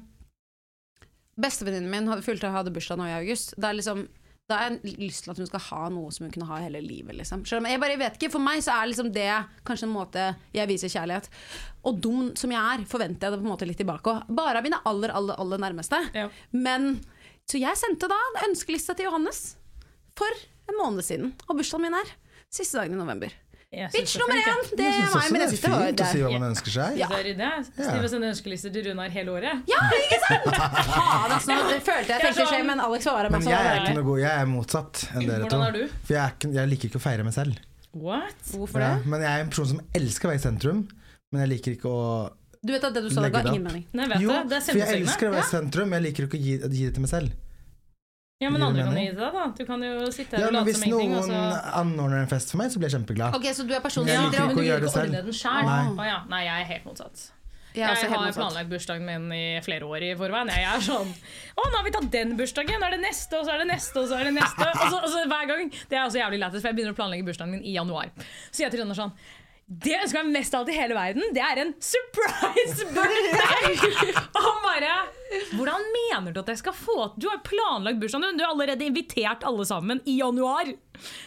Speaker 2: Bestevenninnen min hadde fylt hadde bursdag nå i august. Det er liksom da har jeg lyst til at hun skal ha noe som hun kunne ha hele livet. Liksom. Skjønner du? Men Jeg bare jeg vet ikke, For meg så er liksom det kanskje en måte jeg viser kjærlighet. Og dum som jeg er, forventer jeg det på en måte litt tilbake òg. Bare av mine aller, aller, aller nærmeste.
Speaker 4: Ja.
Speaker 2: Men, så jeg sendte da en ønskeliste til Johannes for en måned siden. Og bursdagen min er siste dagen i november.
Speaker 4: Jeg synes
Speaker 2: Bitch
Speaker 4: det er
Speaker 2: nummer
Speaker 4: flink, jeg.
Speaker 2: én! Det
Speaker 3: Jeg
Speaker 2: er
Speaker 3: synes
Speaker 2: meg,
Speaker 3: også
Speaker 2: men
Speaker 3: det
Speaker 2: jeg
Speaker 3: er
Speaker 2: synes det var
Speaker 3: fint å si
Speaker 2: der.
Speaker 3: hva man ønsker seg.
Speaker 4: Så er det det. Skriv
Speaker 3: Ja.
Speaker 4: oss en ønskelister til Runar hele året.
Speaker 2: Ja, ikke sant? Faen, altså, nå følte jeg tenkte skje, men Alex var bare sånn
Speaker 3: Men
Speaker 2: meg.
Speaker 3: jeg er
Speaker 4: det.
Speaker 3: ikke noe god, jeg er motsatt enn dere to.
Speaker 4: Hvordan er du?
Speaker 3: For jeg, er ikke, jeg liker ikke å feire meg selv.
Speaker 4: What?
Speaker 2: Hvorfor
Speaker 3: Ja,
Speaker 2: det?
Speaker 3: men jeg er en person som elsker å være i sentrum. Men jeg liker ikke å
Speaker 2: Du vet at det du sa, det ga
Speaker 3: Legge det
Speaker 2: ingen
Speaker 3: opp.
Speaker 2: mening.
Speaker 4: Nei, vet
Speaker 3: Jo,
Speaker 4: du, det er
Speaker 3: for jeg
Speaker 4: selvmotsigende.
Speaker 3: elsker å være i sentrum, men jeg liker ikke å gi, gi det til meg selv.
Speaker 4: Ja, men
Speaker 3: Gir det
Speaker 4: andre kan jo
Speaker 3: mening?
Speaker 4: gi det deg, da. Du kan jo sitte her
Speaker 3: Ja,
Speaker 4: og
Speaker 3: men
Speaker 4: late
Speaker 3: Hvis
Speaker 4: som ingenting. altså. og
Speaker 3: noen
Speaker 4: så-
Speaker 3: anordner en fest for meg, så blir jeg kjempeglad.
Speaker 2: Ok, Så du er personen
Speaker 3: Jeg
Speaker 4: Ja,
Speaker 2: som
Speaker 4: men
Speaker 3: liker
Speaker 2: drar
Speaker 3: ikke
Speaker 4: du
Speaker 3: å
Speaker 4: vil
Speaker 3: gjøre
Speaker 4: ikke
Speaker 3: det selv.
Speaker 4: ordne den sjøl.
Speaker 3: Nei.
Speaker 4: Å ja. Nei, jeg er helt motsatt.
Speaker 2: Jeg er
Speaker 4: Jeg
Speaker 2: også helt
Speaker 4: har
Speaker 2: motsatt.
Speaker 4: planlagt bursdagen min i flere år i forveien. Jeg er sånn Å, nå har vi tatt den bursdagen! Nå er det neste, og så er det neste, og så er det neste. Og så, og så hver gang. Det er også jævlig lættis, for jeg begynner å planlegge bursdagen min i januar. Så jeg til Rønnar sånn det jeg ønsker meg mest av alt i hele verden, det er en surprise birthday! Og han bare Hvordan mener du at jeg skal få Du har planlagt bursdagen din, du har allerede invitert alle sammen i januar!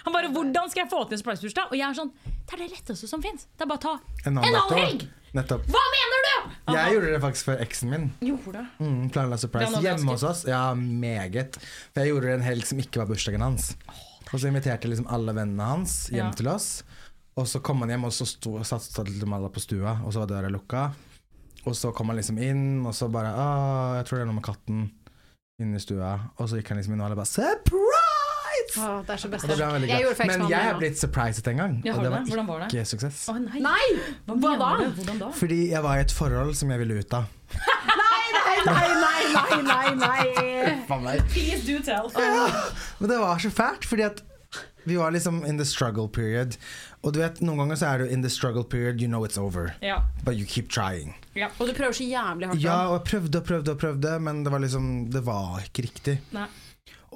Speaker 4: Han bare Hvordan skal jeg få til en surprise-bursdag? Og jeg er sånn Det er det letteste som fins. Det er bare å ta en
Speaker 3: annen
Speaker 4: halv
Speaker 3: dato.
Speaker 4: helg!
Speaker 3: Nettopp.
Speaker 4: Hva mener du?!
Speaker 3: Jeg gjorde det faktisk for eksen min. Mm, planla
Speaker 4: Den
Speaker 3: surprise
Speaker 4: overrasket.
Speaker 3: hjemme hos oss. Ja, meget. For jeg gjorde det en helg som ikke var bursdagen hans. Og så inviterte jeg liksom alle vennene hans hjem
Speaker 4: Ja.
Speaker 3: til oss. Og så kom han hjem, og så sto, satt, satt de alle på stua, og så var døra lukka. Og så kom han liksom inn, og så bare Å, jeg tror det er noe med katten inne i stua. Og så gikk han liksom inn, og alle bare Surprise!
Speaker 2: Åh, det er så best.
Speaker 3: Og da ble han veldig
Speaker 2: Ah, Jeg gjorde
Speaker 3: glad.
Speaker 2: for
Speaker 3: Men
Speaker 2: eksmannen
Speaker 3: jeg
Speaker 2: min
Speaker 3: er
Speaker 2: nå.
Speaker 3: blitt surpriset en gang,
Speaker 4: Ja,
Speaker 3: og
Speaker 4: har
Speaker 3: det
Speaker 4: du
Speaker 3: var
Speaker 4: det? Hvordan var det?
Speaker 3: ikke suksess.
Speaker 4: Å nei!
Speaker 2: Nei!
Speaker 4: Hva,
Speaker 2: Hva da?
Speaker 4: mener du? Hvordan da?
Speaker 3: Fordi jeg var i et forhold som jeg ville ut av.
Speaker 2: Nei, nei, nei, nei, nei, nei.
Speaker 4: Please do tell.
Speaker 3: Men det var så fælt, fordi at vi var liksom in the struggle period. Og du vet, noen ganger så er du in the struggle period, you know it's over.
Speaker 4: Ja.
Speaker 3: But you keep trying.
Speaker 4: ja.
Speaker 2: Og du prøver så jævlig hardt.
Speaker 3: Ja,
Speaker 2: da.
Speaker 3: og jeg prøvde og prøvde og prøvde, men det var liksom Det var ikke riktig.
Speaker 4: Nei.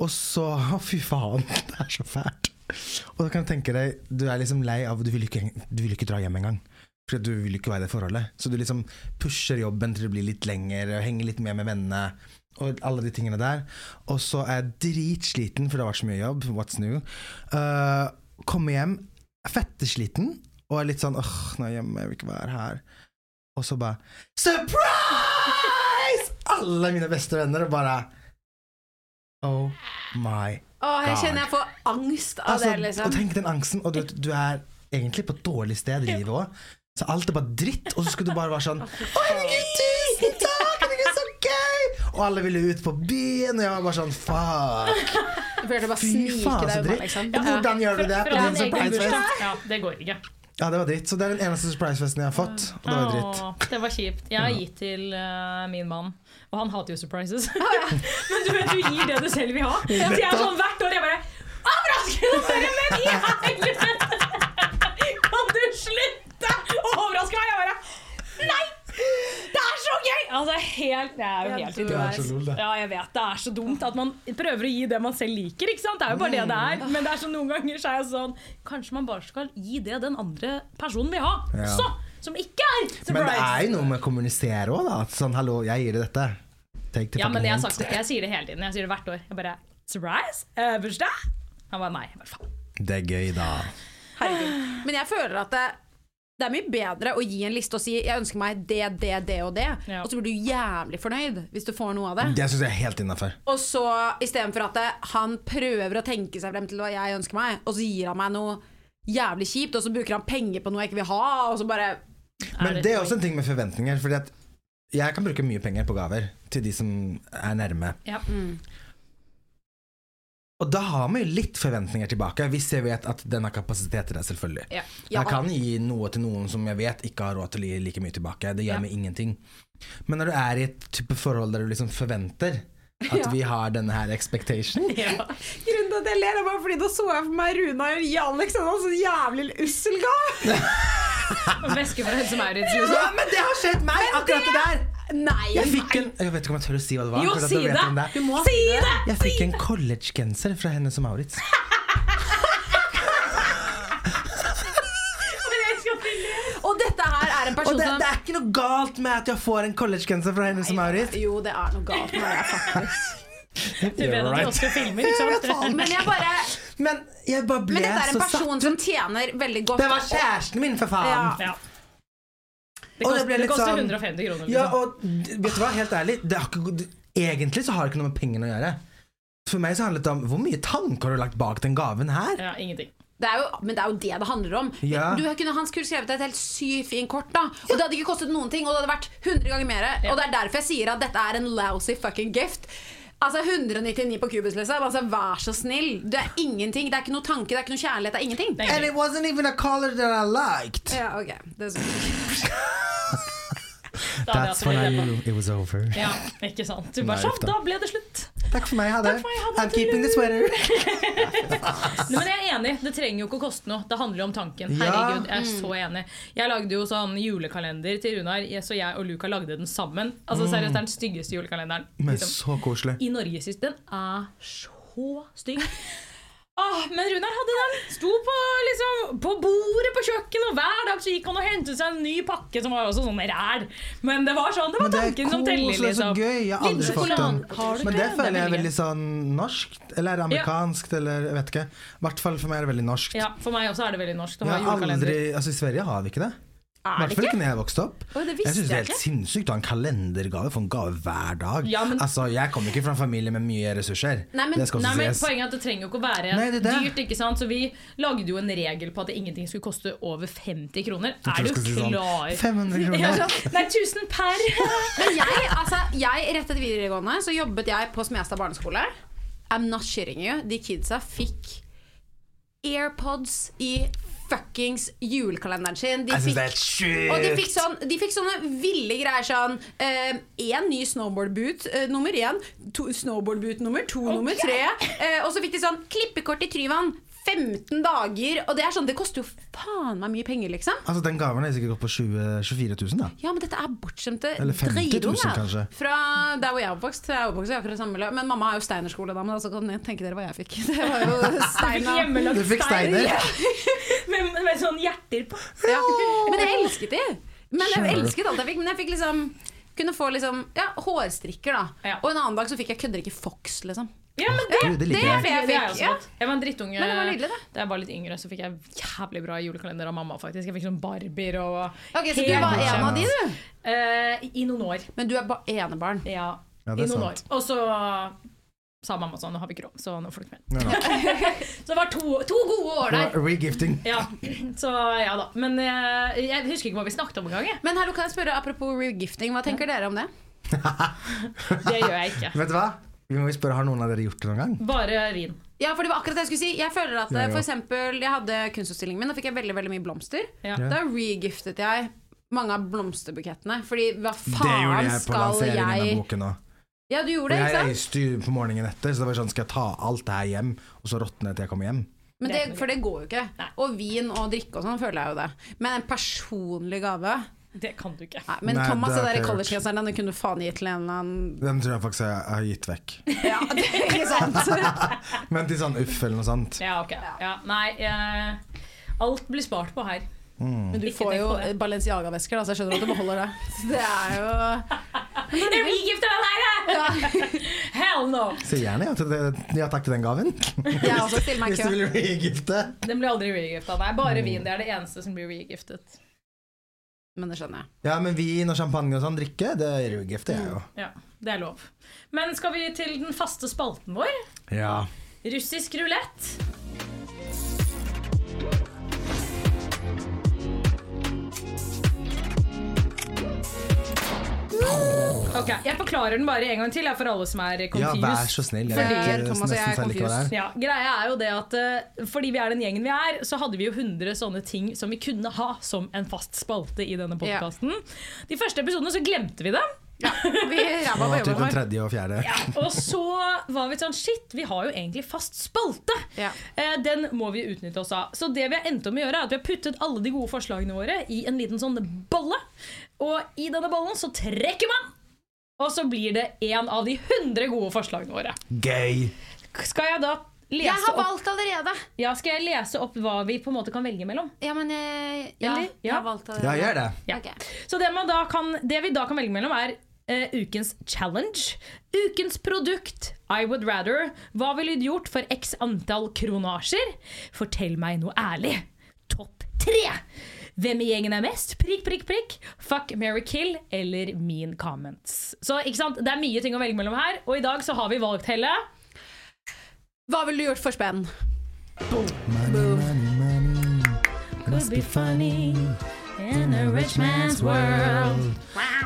Speaker 3: Og så Å, fy faen, det er så fælt. Og da kan du tenke deg, du er liksom lei av Du vil ikke, du vil ikke dra hjem engang. Fordi du vil ikke være i det forholdet. Så du liksom pusher jobben til det blir litt lenger, og henger litt mer med vennene. Og alle de tingene der. Og så er jeg dritsliten, for det har vært så mye jobb. What's new? Uh, kommer hjem fettesliten og er litt sånn åh, nå er jeg hjemme, jeg vil ikke være her. Og så bare Surprise! Alle mine beste venner og bare Oh my
Speaker 2: Åh, jeg
Speaker 3: God.
Speaker 2: kjenner jeg får angst av
Speaker 3: Altså,
Speaker 2: det,
Speaker 3: Og
Speaker 2: liksom.
Speaker 3: tenk den angsten, og du, vet, du er egentlig på et dårlig sted i livet òg. Så alt er bare dritt, og så skulle du bare være sånn Å, herregud, tusen takk! Det er så gøy! Og alle ville ut på byen, og jeg var bare sånn Fuck!
Speaker 2: Jeg følte bare
Speaker 3: Fy
Speaker 2: snike
Speaker 3: faen, så
Speaker 2: deg unna,
Speaker 3: dritt.
Speaker 2: liksom.
Speaker 3: Og hvordan gjør du det på
Speaker 4: Fra
Speaker 3: din
Speaker 4: en egen
Speaker 3: surprisefest?
Speaker 4: bursdag? Ja, det går ikke.
Speaker 3: Ja, det var dritt. Så det er den eneste surprisefesten jeg har fått, og det var dritt.
Speaker 4: Åh, det var kjipt. Jeg har gitt til eh, min mann, og han hater jo surprises. men du vet, du gir det du selv vil ha. Så jeg er sånn hvert år jeg bare Overraskende bare, men i helvete! Kan du slutte å overraske meg? Jeg bare Nei! Det er så gøy! Altså, helt, det er jo helt
Speaker 3: Det er
Speaker 4: idiotisk.
Speaker 3: så lol, det.
Speaker 4: Ja, jeg vet det er så dumt at man prøver å gi det man selv liker, ikke sant? Det er jo bare det det er. Men det er så noen ganger så er jeg sånn Kanskje man bare skal gi det den andre personen vil ha
Speaker 3: Ja.
Speaker 4: også, som ikke er surprise.
Speaker 3: Men det er jo noe med å kommunisere òg, da. At sånn, hallo, jeg gir deg dette. Take the
Speaker 4: Ja, men
Speaker 3: fucking
Speaker 4: jeg, har
Speaker 3: hint.
Speaker 4: sagt det, altså- jeg sier det hele tiden. Jeg sier det hvert år. Jeg bare Surprise? Eh, bursdag? Han bare nei. Jeg bare, faen.
Speaker 3: Det er gøy, da.
Speaker 2: Herregud. Men jeg føler at det, det er mye bedre å gi en liste og si 'jeg ønsker meg det, det, det og det',
Speaker 4: Ja.
Speaker 2: og så blir du jævlig fornøyd hvis du får noe av det.
Speaker 3: Det syns jeg er helt innafor.
Speaker 2: Og så istedenfor at det, han prøver å tenke seg frem til hva jeg ønsker meg, og så gir han meg noe jævlig kjipt, og så bruker han penger på noe jeg ikke vil ha, og så bare
Speaker 4: Er
Speaker 3: Men
Speaker 4: det
Speaker 3: det er
Speaker 4: et
Speaker 3: også en ting med forventninger. Fordi at jeg kan bruke mye penger på gaver til de som er nærme.
Speaker 4: Ja.
Speaker 2: Mm.
Speaker 3: Og da har man jo litt forventninger tilbake, hvis jeg vet at den har kapasitet til det, selvfølgelig.
Speaker 4: Ja.
Speaker 2: Ja.
Speaker 3: Jeg kan gi noe til noen som jeg vet ikke har råd til å gi like mye tilbake. Det gjør
Speaker 4: Ja.
Speaker 3: meg ingenting. Men når du er i et type forhold der du liksom forventer at vi har denne her expectation
Speaker 2: Grunnen til at jeg ler, er bare fordi da så jeg for meg Runar gi Alex en sånn jævlig ussel gave.
Speaker 4: Væske fra Helse Maurits,
Speaker 3: Ja,
Speaker 4: liksom.
Speaker 3: men det har skjedd meg, akkurat det der!
Speaker 2: Nei,
Speaker 3: Jeg fikk
Speaker 2: nei.
Speaker 3: en Jeg vet ikke om jeg tør å si hva det var.
Speaker 4: Jo,
Speaker 3: for at
Speaker 4: si
Speaker 3: vet
Speaker 4: det!
Speaker 3: om
Speaker 2: Du må
Speaker 4: Si
Speaker 2: si det.
Speaker 4: det!
Speaker 3: Jeg fikk en collegegenser fra henne som Maurits.
Speaker 2: Og dette her er en
Speaker 3: Og
Speaker 2: person
Speaker 3: det,
Speaker 2: som
Speaker 3: det er ikke noe galt med at jeg får en collegegenser fra henne som Maurits.
Speaker 2: Jo, det er noe galt med det, faktisk.
Speaker 4: Du vet at du også filmer, ikke sant?
Speaker 2: Men jeg bare
Speaker 3: Men jeg bare ble
Speaker 2: Men dette er en
Speaker 3: så satt.
Speaker 2: person som tjener veldig godt.
Speaker 3: Det var kjæresten min, for faen!
Speaker 2: Ja.
Speaker 4: Ja. Det
Speaker 3: Og det
Speaker 4: koster,
Speaker 3: ble
Speaker 4: det
Speaker 3: litt
Speaker 4: koster
Speaker 3: sånn-
Speaker 4: 150 kroner. Liksom.
Speaker 3: Ja, og d- vet du hva, helt ærlig det har ikke, det- Egentlig så har det ikke noe med pengene å gjøre For meg så handlet det om Hvor mye tanker har du lagt bak den gaven her?
Speaker 4: ja, ingenting.
Speaker 2: Det er jo, men det er jo det det handler om.
Speaker 3: Ja.
Speaker 2: Du kunne Hans kunne skrevet et helt sykt fint kort, da. Og det hadde ikke kostet noen ting, og det hadde vært 100 ganger mer.
Speaker 4: Ja.
Speaker 2: Og det er derfor jeg sier at dette er en lousy fucking gift. Altså 199 på kubus, liksom. Altså, vær så snill. Det er ingenting. Det er ikke noe tanke, det er ikke noe kjærlighet, det er ingenting.
Speaker 4: Det er
Speaker 3: And it
Speaker 4: ingenting.
Speaker 3: wasn't even a color that I liked
Speaker 2: Ja, ok. Det er så-
Speaker 4: Da hadde jeg også blitt hjemme.
Speaker 3: it was over
Speaker 4: Ja, ikke sant. Du bare
Speaker 3: Nei, uff
Speaker 4: sånn,
Speaker 3: da.
Speaker 4: da ble det slutt.
Speaker 3: Takk for meg, ha det
Speaker 4: Takk for meg, ha det.
Speaker 3: I'm keeping the sweater
Speaker 4: Nei, men jeg er enig, det trenger jo ikke å koste noe. Det handler jo om tanken.
Speaker 3: Ja.
Speaker 4: Herregud, jeg er så enig. Jeg lagde jo sånn julekalender til Runar, jeg- så jeg og Luca lagde den sammen. Altså seriøst, det er den styggeste julekalenderen.
Speaker 3: Mm. Men
Speaker 4: liksom,
Speaker 3: så koselig
Speaker 4: I Norges hus. Den er så stygg. Ah, men Runar hadde den. Sto på, liksom, på bordet på kjøkkenet, og hver dag så gikk han og hentet seg en ny pakke som var også sånn ræl. Men det var sånn, det var
Speaker 3: Men det er
Speaker 4: tanken som teller,
Speaker 3: koselig, så
Speaker 4: liksom.
Speaker 3: gøy Jeg har
Speaker 4: Litt
Speaker 3: aldri fått den
Speaker 4: sjokolade- Har du
Speaker 3: Men
Speaker 4: ikke?
Speaker 3: det
Speaker 4: Den
Speaker 3: føler jeg
Speaker 4: er
Speaker 3: er veldig
Speaker 4: veldig
Speaker 3: sånn norsk Eller amerikansk, eller jeg vet ikke Hvertfall for meg er det veldig norsk
Speaker 4: Ja, For meg også er det veldig norsk. å
Speaker 3: Jeg
Speaker 4: ha
Speaker 3: har aldri,
Speaker 4: julekalender.
Speaker 3: altså I Sverige har vi ikke det. I hvert fall ikke når jeg vokste opp.
Speaker 2: Oi, det visste
Speaker 3: jeg synes det
Speaker 2: jeg
Speaker 3: er helt
Speaker 2: ikke.
Speaker 3: sinnssykt å ha en kalendergave for en gave hver dag.
Speaker 4: Ja, men-
Speaker 3: Altså, Jeg kommer ikke fra en familie med mye ressurser.
Speaker 2: Nei, men-
Speaker 3: det skal
Speaker 4: Nei,
Speaker 3: også
Speaker 4: men
Speaker 3: sies.
Speaker 4: Poenget er at det trenger jo ikke å være
Speaker 3: Nei, det er det.
Speaker 4: dyrt. ikke sant? Så vi lagde jo en regel på at ingenting skulle koste over 50 kroner.
Speaker 3: Jeg tror
Speaker 4: Er du
Speaker 3: jeg skal si sånn,
Speaker 4: klar?
Speaker 3: 500
Speaker 4: Ja,
Speaker 3: kroner.
Speaker 4: sånn, Nei, 1000 per!
Speaker 2: Men jeg, altså, jeg rett etter videregående så jobbet jeg på Smestad barneskole. I'm not shitting you. De kidsa fikk AirPods i fuckings julekalenderen sin. De
Speaker 3: Jeg syns det
Speaker 2: fikk
Speaker 3: er helt sjukt!
Speaker 2: og de fikk, sånn, de fikk sånne ville greier sånn Én ny snowboardboot eh, nummer én, to, snowboardboot nummer to, nummer tre. eh, og så fikk de sånn klippekort i Tryvann. 15 dager. Og det er sånn, det koster jo faen meg mye penger, liksom.
Speaker 3: Altså, Den gaven har sikkert gått på 20, 24 000, da.
Speaker 2: Ja, men dette er bortskjemte
Speaker 3: Eller 50 000
Speaker 2: dritunger.
Speaker 3: kanskje.
Speaker 2: Fra der hvor jeg er oppvokst. Jeg er oppvokst i akkurat samme miljø. Men mamma er jo steinerskoledame, da, så kan jeg tenke dere hva jeg fikk. Det var jo stein av-
Speaker 4: Hjemmelagt
Speaker 3: Du fikk steiner.
Speaker 4: Med, med sånn hjerter på.
Speaker 2: ja. Men jeg elsket de. Men jeg elsket alt jeg fikk. Men jeg fikk liksom kunne få liksom, ja, hårstrikker, da.
Speaker 4: Ja.
Speaker 2: Og en annen dag så fikk jeg kødder ikke Fox, liksom.
Speaker 4: Ja, men det,
Speaker 3: Gud, det liker jeg.
Speaker 2: det- jeg
Speaker 4: det er
Speaker 2: fikk,
Speaker 4: jo så
Speaker 2: ja.
Speaker 4: godt. Jeg var en drittunge
Speaker 2: Men det var nydelig, da.
Speaker 4: da jeg var litt yngre, så fikk jeg jævlig bra julekalender av mamma. faktisk Jeg fikk sånn barbier og
Speaker 2: Ok, Så
Speaker 4: Helt
Speaker 2: du var
Speaker 4: bortskjemt.
Speaker 2: en av de, du.
Speaker 4: Eh, I noen år.
Speaker 2: Men du er bare enebarn.
Speaker 4: Ja,
Speaker 3: Ja, det
Speaker 4: i
Speaker 3: er
Speaker 4: noen
Speaker 3: sant.
Speaker 4: år. Og så sa mamma sånn, nå har vi ikke råd, så nå får du ikke mer.
Speaker 3: Ja.
Speaker 4: Så det var to, to gode år
Speaker 3: Det
Speaker 4: der.
Speaker 3: var Regifting.
Speaker 4: Ja, så ja da. Men eh, jeg husker ikke hva vi snakket om engang. jeg.
Speaker 2: Men hallo, kan jeg spørre, apropos regifting, hva tenker dere om det?
Speaker 4: Det gjør jeg ikke.
Speaker 3: Vet du hva? Vi må jo spørre, Har noen av dere gjort det noen gang?
Speaker 4: Bare vin.
Speaker 2: Ja, for det var akkurat det jeg skulle si. Jeg føler at eh,
Speaker 3: Ja, ja.
Speaker 2: for eksempel, Jeg hadde kunstutstillingen min, da fikk jeg veldig veldig mye blomster.
Speaker 4: Ja.
Speaker 2: Da regiftet jeg mange av blomsterbukettene. Fordi hva
Speaker 3: det gjorde
Speaker 2: faen
Speaker 3: jeg på
Speaker 2: skal
Speaker 3: lanseringen
Speaker 2: jeg
Speaker 3: av boken òg.
Speaker 2: Ja, du gjorde det,
Speaker 3: Jeg
Speaker 2: ikke sant?
Speaker 3: reiste jo på morgenen etter, så det var sånn Skal jeg ta alt det her hjem, og så råtne til jeg kommer hjem?
Speaker 2: Men det, for det går jo ikke.
Speaker 4: Nei.
Speaker 2: Og vin og drikke og sånn føler jeg jo det. Men en personlig gave
Speaker 4: Det kan du ikke.
Speaker 2: Nei, men
Speaker 3: Nei,
Speaker 2: Thomas,
Speaker 3: det
Speaker 2: det
Speaker 3: har
Speaker 2: der
Speaker 3: jeg ikke gjort.
Speaker 2: collegegenseren, den kunne du faen gitt til en eller annen
Speaker 3: Den tror jeg faktisk jeg har gitt vekk.
Speaker 2: Ja, det er ikke sant?
Speaker 3: Men til sånn uff eller noe sånt.
Speaker 4: Ja, ok. Ja, nei, eh, alt blir spart på her.
Speaker 3: Mm.
Speaker 2: Men du
Speaker 4: Ikke
Speaker 2: får
Speaker 4: tenk
Speaker 2: jo
Speaker 4: på det.
Speaker 2: Balenciaga-vesker, da, så jeg skjønner at du beholder det. Så det er jo
Speaker 4: Jeg vil gifte meg med deg! Hell no!
Speaker 3: Si gjerne ja, til det, ja takk til den gaven.
Speaker 2: Jeg også stiller meg i
Speaker 3: Hvis du
Speaker 2: kø.
Speaker 3: vil regifte.
Speaker 4: Den blir aldri regifta. Nei, bare
Speaker 3: Mm.
Speaker 4: vin. Det er det eneste som blir regiftet.
Speaker 2: Men det skjønner jeg.
Speaker 3: Ja, men vin og champagne og sånn drikke, det regifter jeg jo.
Speaker 4: Ja, det er lov. Men skal vi til den faste spalten vår?
Speaker 3: Ja.
Speaker 4: Russisk rulett. Ok, Jeg forklarer den bare en gang til jeg, for alle som er
Speaker 3: ja,
Speaker 4: confused.
Speaker 3: vær så snill. Jeg
Speaker 2: Fordi
Speaker 3: vet ikke,
Speaker 2: Thomas og
Speaker 3: nesten
Speaker 2: jeg er
Speaker 3: selv ikke hva det er.
Speaker 4: Ja, greia er jo det at eh, Fordi vi er den gjengen vi er, så hadde vi jo 100 sånne ting som vi kunne ha som en fast spalte i denne podkasten. De første episodene så glemte vi det.
Speaker 2: Vi ræva
Speaker 3: Og
Speaker 2: på
Speaker 3: typ
Speaker 2: jobben
Speaker 3: den
Speaker 2: vår.
Speaker 3: tredje og fjerde.
Speaker 4: Og så var vi sånn Shit, vi har jo egentlig fast spalte!
Speaker 2: Ja.
Speaker 4: Eh, den må vi utnytte oss av. Så det vi har endt opp med å gjøre, er at vi har puttet alle de gode forslagene våre i en liten sånn bolle. Og i denne bollen så trekker man Og så blir det en av de 100 gode forslagene våre.
Speaker 3: Gøy!
Speaker 4: Skal jeg da
Speaker 2: Jeg
Speaker 4: lese
Speaker 2: har
Speaker 4: opp,
Speaker 2: valgt allerede!
Speaker 4: ja, skal jeg lese opp hva vi på en måte kan velge mellom?
Speaker 2: Ja, men jeg, ja,
Speaker 4: Eller?
Speaker 2: jeg
Speaker 4: Ja.
Speaker 2: har valgt allerede.
Speaker 3: Ja, gjør det.
Speaker 4: Ja.
Speaker 2: Ok.
Speaker 4: Så det, man da kan, det vi da kan velge mellom, er eh, ukens challenge, ukens produkt, I would rather, hva ville du gjort for x antall kronasjer? Fortell meg noe ærlig. Topp tre! Hvem i gjengen er mest? Prikk, prikk, prikk. Fuck, marry, kill eller min comments. Så ikke sant, det er mye ting å velge mellom her, og i dag så har vi valgt Helle.
Speaker 2: Hva ville du gjort for spenn?
Speaker 4: Could be funny in a rich man's world.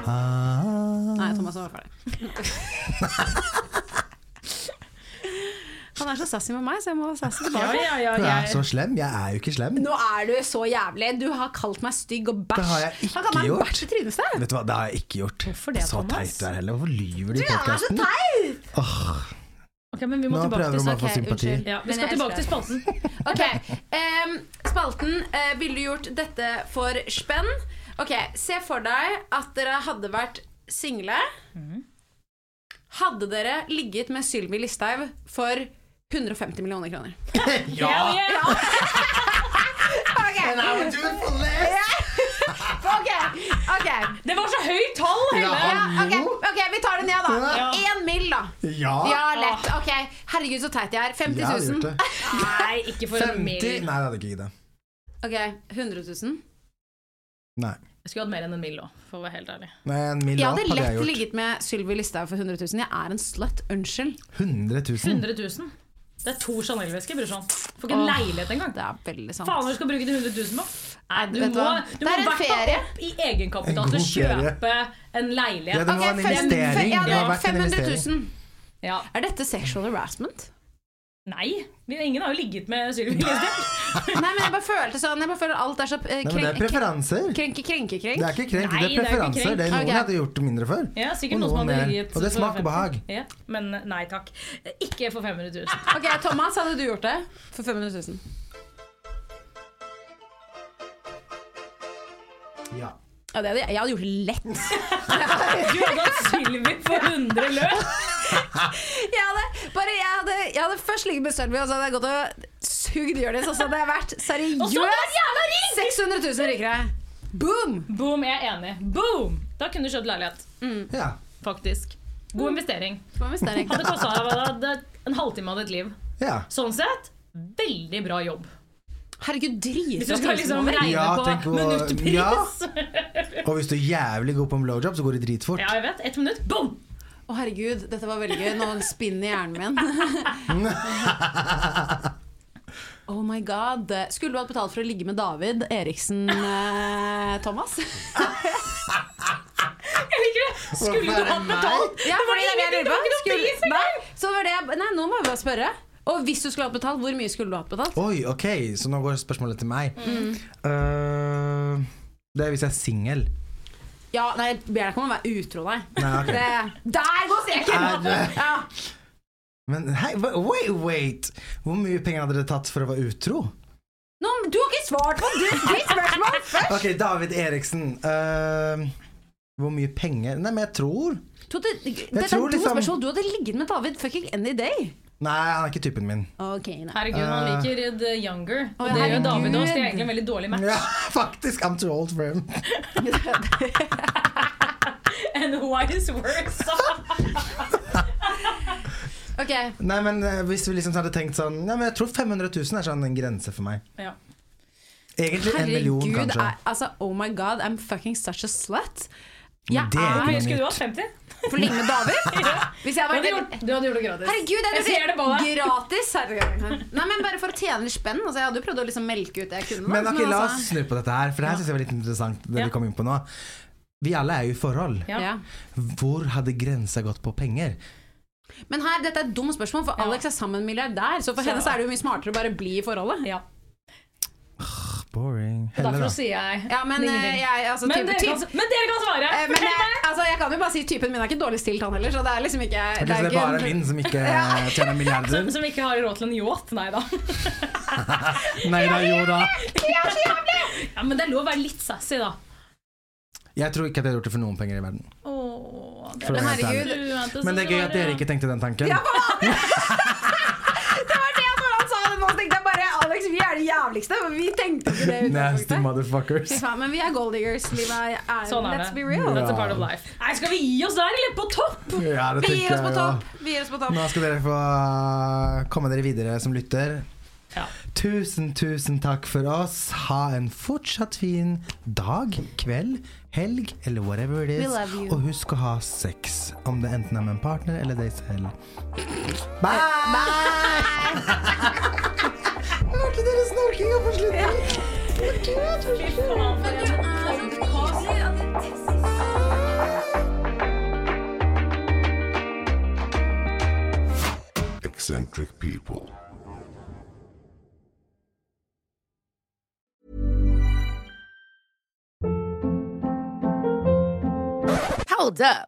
Speaker 3: Ah.
Speaker 2: Nei, Thomas var ferdig. Han er så sassy med meg, så jeg må være sassy
Speaker 4: Ja,
Speaker 2: tilbake.
Speaker 4: ja, ja,
Speaker 3: Jeg er
Speaker 4: jeg,
Speaker 3: så slem. Jeg er jo ikke slem.
Speaker 2: Nå er du så jævlig. Du har kalt meg stygg og bæsj.
Speaker 3: Det har jeg
Speaker 2: Han kaller
Speaker 3: ikke
Speaker 2: meg
Speaker 3: gjort.
Speaker 2: bæsj i trynet sitt.
Speaker 3: Vet du hva, det har jeg ikke gjort.
Speaker 4: Hvorfor det,
Speaker 3: så
Speaker 4: Thomas?
Speaker 3: teit du er heller. Hvorfor lyver du i
Speaker 2: Du er så
Speaker 3: podkasten?
Speaker 2: teit!
Speaker 4: Ok, men vi må
Speaker 3: Nå
Speaker 4: tilbake
Speaker 3: prøver
Speaker 4: til
Speaker 3: hun bare å
Speaker 4: sak.
Speaker 3: få
Speaker 2: ok,
Speaker 3: sympati.
Speaker 2: unnskyld.
Speaker 4: Ja, vi
Speaker 2: Men
Speaker 4: skal
Speaker 2: jeg
Speaker 4: tilbake til
Speaker 2: elsker
Speaker 4: spalten.
Speaker 2: Ok, ehm, Spalten eh, ville du gjort dette for spenn. Ok, Se for deg at dere hadde vært single. Mm. Hadde dere ligget med Sylvi Listhaug for 150 millioner kroner?
Speaker 4: Hell yeah!
Speaker 2: Ok, ok,
Speaker 4: Det var så høyt tall, Helle!
Speaker 2: ja, ok, ok, vi tar det ned, da. Én mil, da.
Speaker 3: Ja!
Speaker 2: Ja, lett. Ok, Herregud, så teit jeg er.
Speaker 3: Jeg hadde
Speaker 2: 50
Speaker 3: gjort
Speaker 2: 000.
Speaker 3: det.
Speaker 4: Nei, ikke for
Speaker 3: 50
Speaker 4: en
Speaker 3: Nei,
Speaker 4: mil.
Speaker 3: jeg hadde ikke giddet.
Speaker 2: Ok, 100 000.
Speaker 3: Nei.
Speaker 4: Jeg skulle hatt mer enn en mil òg, for å være helt ærlig.
Speaker 3: Nei, en mil
Speaker 2: Jeg
Speaker 3: opp
Speaker 2: hadde
Speaker 3: hadde jeg
Speaker 2: lett
Speaker 3: gjort.
Speaker 2: ligget med Sylvi Listhaug for 100 000. Jeg er en slut. Unnskyld.
Speaker 3: 100 000.
Speaker 4: 100 000. Det er to Chanel-vesker, brorsan. Får ikke en
Speaker 2: Åh.
Speaker 4: leilighet engang.
Speaker 2: Det er veldig sant.
Speaker 4: Faen, hva du skal bruke de 100 000 på? Nei, du
Speaker 2: Vet du
Speaker 4: må,
Speaker 2: hva?
Speaker 4: du
Speaker 2: Det
Speaker 4: må
Speaker 2: er en
Speaker 4: hvert fall
Speaker 2: ferie.
Speaker 4: opp i
Speaker 3: En
Speaker 4: egenkapital
Speaker 3: god
Speaker 4: til å
Speaker 3: ferie.
Speaker 4: kjøpe en
Speaker 3: Ja, det
Speaker 4: leilighet.
Speaker 3: må
Speaker 2: Ok,
Speaker 3: være en
Speaker 2: fem-
Speaker 3: investering.
Speaker 2: Ja,
Speaker 3: Det
Speaker 2: det
Speaker 3: har
Speaker 2: er
Speaker 3: vært en
Speaker 2: 500
Speaker 3: investering.
Speaker 2: 000.
Speaker 4: Ja.
Speaker 2: Er dette sexual harassment?
Speaker 4: Nei, vi, ingen har jo ligget med Sylvi Listhaug.
Speaker 2: Nei, men jeg bare følte sånn Jeg bare føler alt er så eh,
Speaker 3: Nei, men det er
Speaker 2: krenk,
Speaker 3: preferanser.
Speaker 2: krenke, krenke,
Speaker 3: Det
Speaker 2: krenk.
Speaker 3: er ikke krenk, det er
Speaker 4: Nei, det er ikke
Speaker 3: preferanser.
Speaker 4: krenk.
Speaker 3: Det er noen
Speaker 2: Ok.
Speaker 3: jeg hadde gjort mindre før.
Speaker 4: Ja, sikkert
Speaker 3: Og
Speaker 4: noen som
Speaker 3: noen
Speaker 4: hadde
Speaker 3: mer.
Speaker 4: ligget sånn
Speaker 3: Og det
Speaker 4: for
Speaker 3: smak og
Speaker 4: 50 000.
Speaker 3: behag.
Speaker 4: Ja, men nei takk. Ikke for 500 000.
Speaker 2: Ok, Thomas, hadde du gjort det for 500 000?
Speaker 3: Ja.
Speaker 2: Ja, det hadde jeg. Jeg hadde gjort det lett.
Speaker 4: Du hadde hatt Sylvi for 100 løs!
Speaker 2: Jeg hadde, bare, jeg hadde, jeg hadde først ligget med Sølvi, og så hadde jeg gått og sugd Jonis, og så hadde jeg vært
Speaker 4: Og så hadde jeg
Speaker 2: seriøst
Speaker 4: vært jævla rik!
Speaker 2: 600 000 rikere. Boom!
Speaker 4: Boom, jeg er enig. Boom! Da kunne du kjøpt leilighet,
Speaker 3: ja.
Speaker 4: faktisk. God investering.
Speaker 2: Hva med Sterling?
Speaker 4: Hadde kosta en halvtime av ditt liv.
Speaker 3: ja.
Speaker 4: Sånn sett, veldig bra jobb.
Speaker 2: Herregud,
Speaker 4: Hvis du
Speaker 2: dritbra
Speaker 4: skal liksom
Speaker 2: drittmåler.
Speaker 4: regne
Speaker 3: Ja, tenk
Speaker 4: på
Speaker 3: på-
Speaker 4: minuttpris. Ja.
Speaker 3: Ja. Og hvis du er jævlig god på en blowjob, så går det dritfort.
Speaker 4: jeg vet. Ett minutt, boom!
Speaker 2: Å, herregud, dette var veldig gøy. Nå spinner hjernen min. Oh my god. Skulle du hatt betalt for å ligge med David Eriksen eh, Thomas?
Speaker 4: Jeg liker det! Skulle
Speaker 3: Hvorfor er
Speaker 4: du hatt
Speaker 3: det meg?
Speaker 4: betalt?
Speaker 2: Ja,
Speaker 4: det var
Speaker 2: fordi det er det jeg
Speaker 4: ingenting, det
Speaker 2: lurer
Speaker 4: var
Speaker 2: på.
Speaker 4: ikke noe
Speaker 2: Skulle-
Speaker 4: pris engang!
Speaker 2: Nei, så var det jeg- Nei, nå må jeg bare spørre. Og hvis du skulle hatt betalt, hvor mye skulle du hatt betalt?
Speaker 3: Oi, ok, så nå går spørsmålet til meg. Eh, det er hvis jeg er singel.
Speaker 2: Ja, nei, jeg ber deg ikke om å være utro, nei.
Speaker 3: Nei, ok.
Speaker 2: Det, der går streken!
Speaker 3: Er-
Speaker 2: Ja.
Speaker 3: Men hei, wa- wait, wait! Hvor mye penger hadde dere tatt for å være utro?
Speaker 2: Nå, du har ikke svart på det ditt spørsmål først!
Speaker 3: Ok, David Eriksen. eh, hvor mye penger Nei, men jeg tror
Speaker 2: Du hadde, dette er
Speaker 3: tror
Speaker 2: to
Speaker 3: liksom-
Speaker 2: spørsmål. Du hadde ligget med David fucking any day.
Speaker 3: Nei, han er ikke typen min.
Speaker 2: Ok, nei.
Speaker 4: Herregud, han liker The Younger. Og det gjør
Speaker 2: herregud.
Speaker 4: David òg, så det er egentlig en veldig dårlig match.
Speaker 3: Ja, faktisk. I'm too old for him.
Speaker 4: And why is worse?
Speaker 2: Ok,
Speaker 3: Nei, men eh, hvis vi liksom hadde tenkt sånn Nei, men jeg tror 500 000 er sånn en grense for meg.
Speaker 4: ja.
Speaker 3: Egentlig en million, kanskje.
Speaker 2: er- altså, oh my god, I'm fucking such a slut.
Speaker 3: Men
Speaker 2: Jeg
Speaker 3: det er
Speaker 4: Hvor
Speaker 2: er
Speaker 4: mye skulle
Speaker 3: ikke
Speaker 4: du
Speaker 3: noe
Speaker 4: hatt? 50?
Speaker 2: for lenge med David. Hvis jeg
Speaker 4: Du
Speaker 2: var
Speaker 4: hadde gjort, du hadde gjort det gratis.
Speaker 2: Herregud, jeg
Speaker 4: jeg ser det på
Speaker 2: gjorde
Speaker 4: deg.
Speaker 2: det gratis! Herregud. Nei, men Bare for å tjene litt spenn. Altså, jeg hadde jo prøvd å liksom melke ut det jeg kunne. da,
Speaker 3: Men ok, la oss
Speaker 2: altså-
Speaker 3: snu på dette her, for det her synes jeg var litt interessant. Det
Speaker 4: Ja.
Speaker 3: vi kom inn på nå Vi alle er jo i forhold.
Speaker 4: Ja.
Speaker 2: ja.
Speaker 3: Hvor hadde grensa gått på penger?
Speaker 2: Men her, dette er et dumt spørsmål, for Alex er sammen med en milliardær. Så for
Speaker 4: Så-
Speaker 2: henne så er det jo mye smartere å bare bli i forholdet.
Speaker 4: Ja.
Speaker 3: Boring. Helle,
Speaker 4: Derfor
Speaker 3: da.
Speaker 4: sier jeg
Speaker 2: Ja, men,
Speaker 4: ingenting.
Speaker 2: eh, jeg- altså,
Speaker 4: men,
Speaker 2: type-
Speaker 4: dere kan, men dere kan svare!
Speaker 2: Eh, Men
Speaker 4: Fortell
Speaker 2: jeg,
Speaker 4: meg!
Speaker 2: altså, jeg kan jo bare si typen min er ikke dårlig stilt, han heller. Så det er liksom ikke
Speaker 3: Ok, så det er bare min som ikke tjener milliarder?
Speaker 4: Som, som ikke har råd til en yacht, nei da.
Speaker 3: Nei da, jo da.
Speaker 4: Ja, men det er lov å være litt sassy, da.
Speaker 3: Jeg tror ikke at jeg hadde gjort det for noen penger i verden.
Speaker 4: Åh. det
Speaker 3: For å
Speaker 4: er sånn
Speaker 3: være helt
Speaker 2: herregud.
Speaker 4: truende,
Speaker 3: Men det
Speaker 4: så
Speaker 3: er gøy
Speaker 4: var
Speaker 3: at dere ikke tenkte den tanken.
Speaker 2: Det var det når han sa det nå, så tenkte jeg bare Alex, vi er de jævligste. men Vi tenkte ikke det. i
Speaker 3: Nasty
Speaker 2: utgangspunktet.
Speaker 3: motherfuckers.
Speaker 2: Fy faen, men vi er gold diggers, Liva. Er,
Speaker 4: Sånn er
Speaker 2: let's
Speaker 4: det.
Speaker 2: be real.
Speaker 4: That's a part of life. Nei, skal vi gi oss der, eller? På topp!
Speaker 3: Ja, det
Speaker 2: Vi gir
Speaker 3: tenker
Speaker 2: oss på
Speaker 3: jeg
Speaker 2: topp.
Speaker 3: òg.
Speaker 2: Vi gir oss på topp.
Speaker 3: Nå skal dere få komme dere videre som lytter.
Speaker 4: Ja.
Speaker 3: Tusen, tusen takk for oss. Ha en fortsatt fin dag, kveld, helg eller whatever it is. Og husk å ha sex, om det enten er med en partner eller deg selv. Bye! Hørte dere snorkinga på slutten?
Speaker 6: eccentric people.
Speaker 7: Hold up.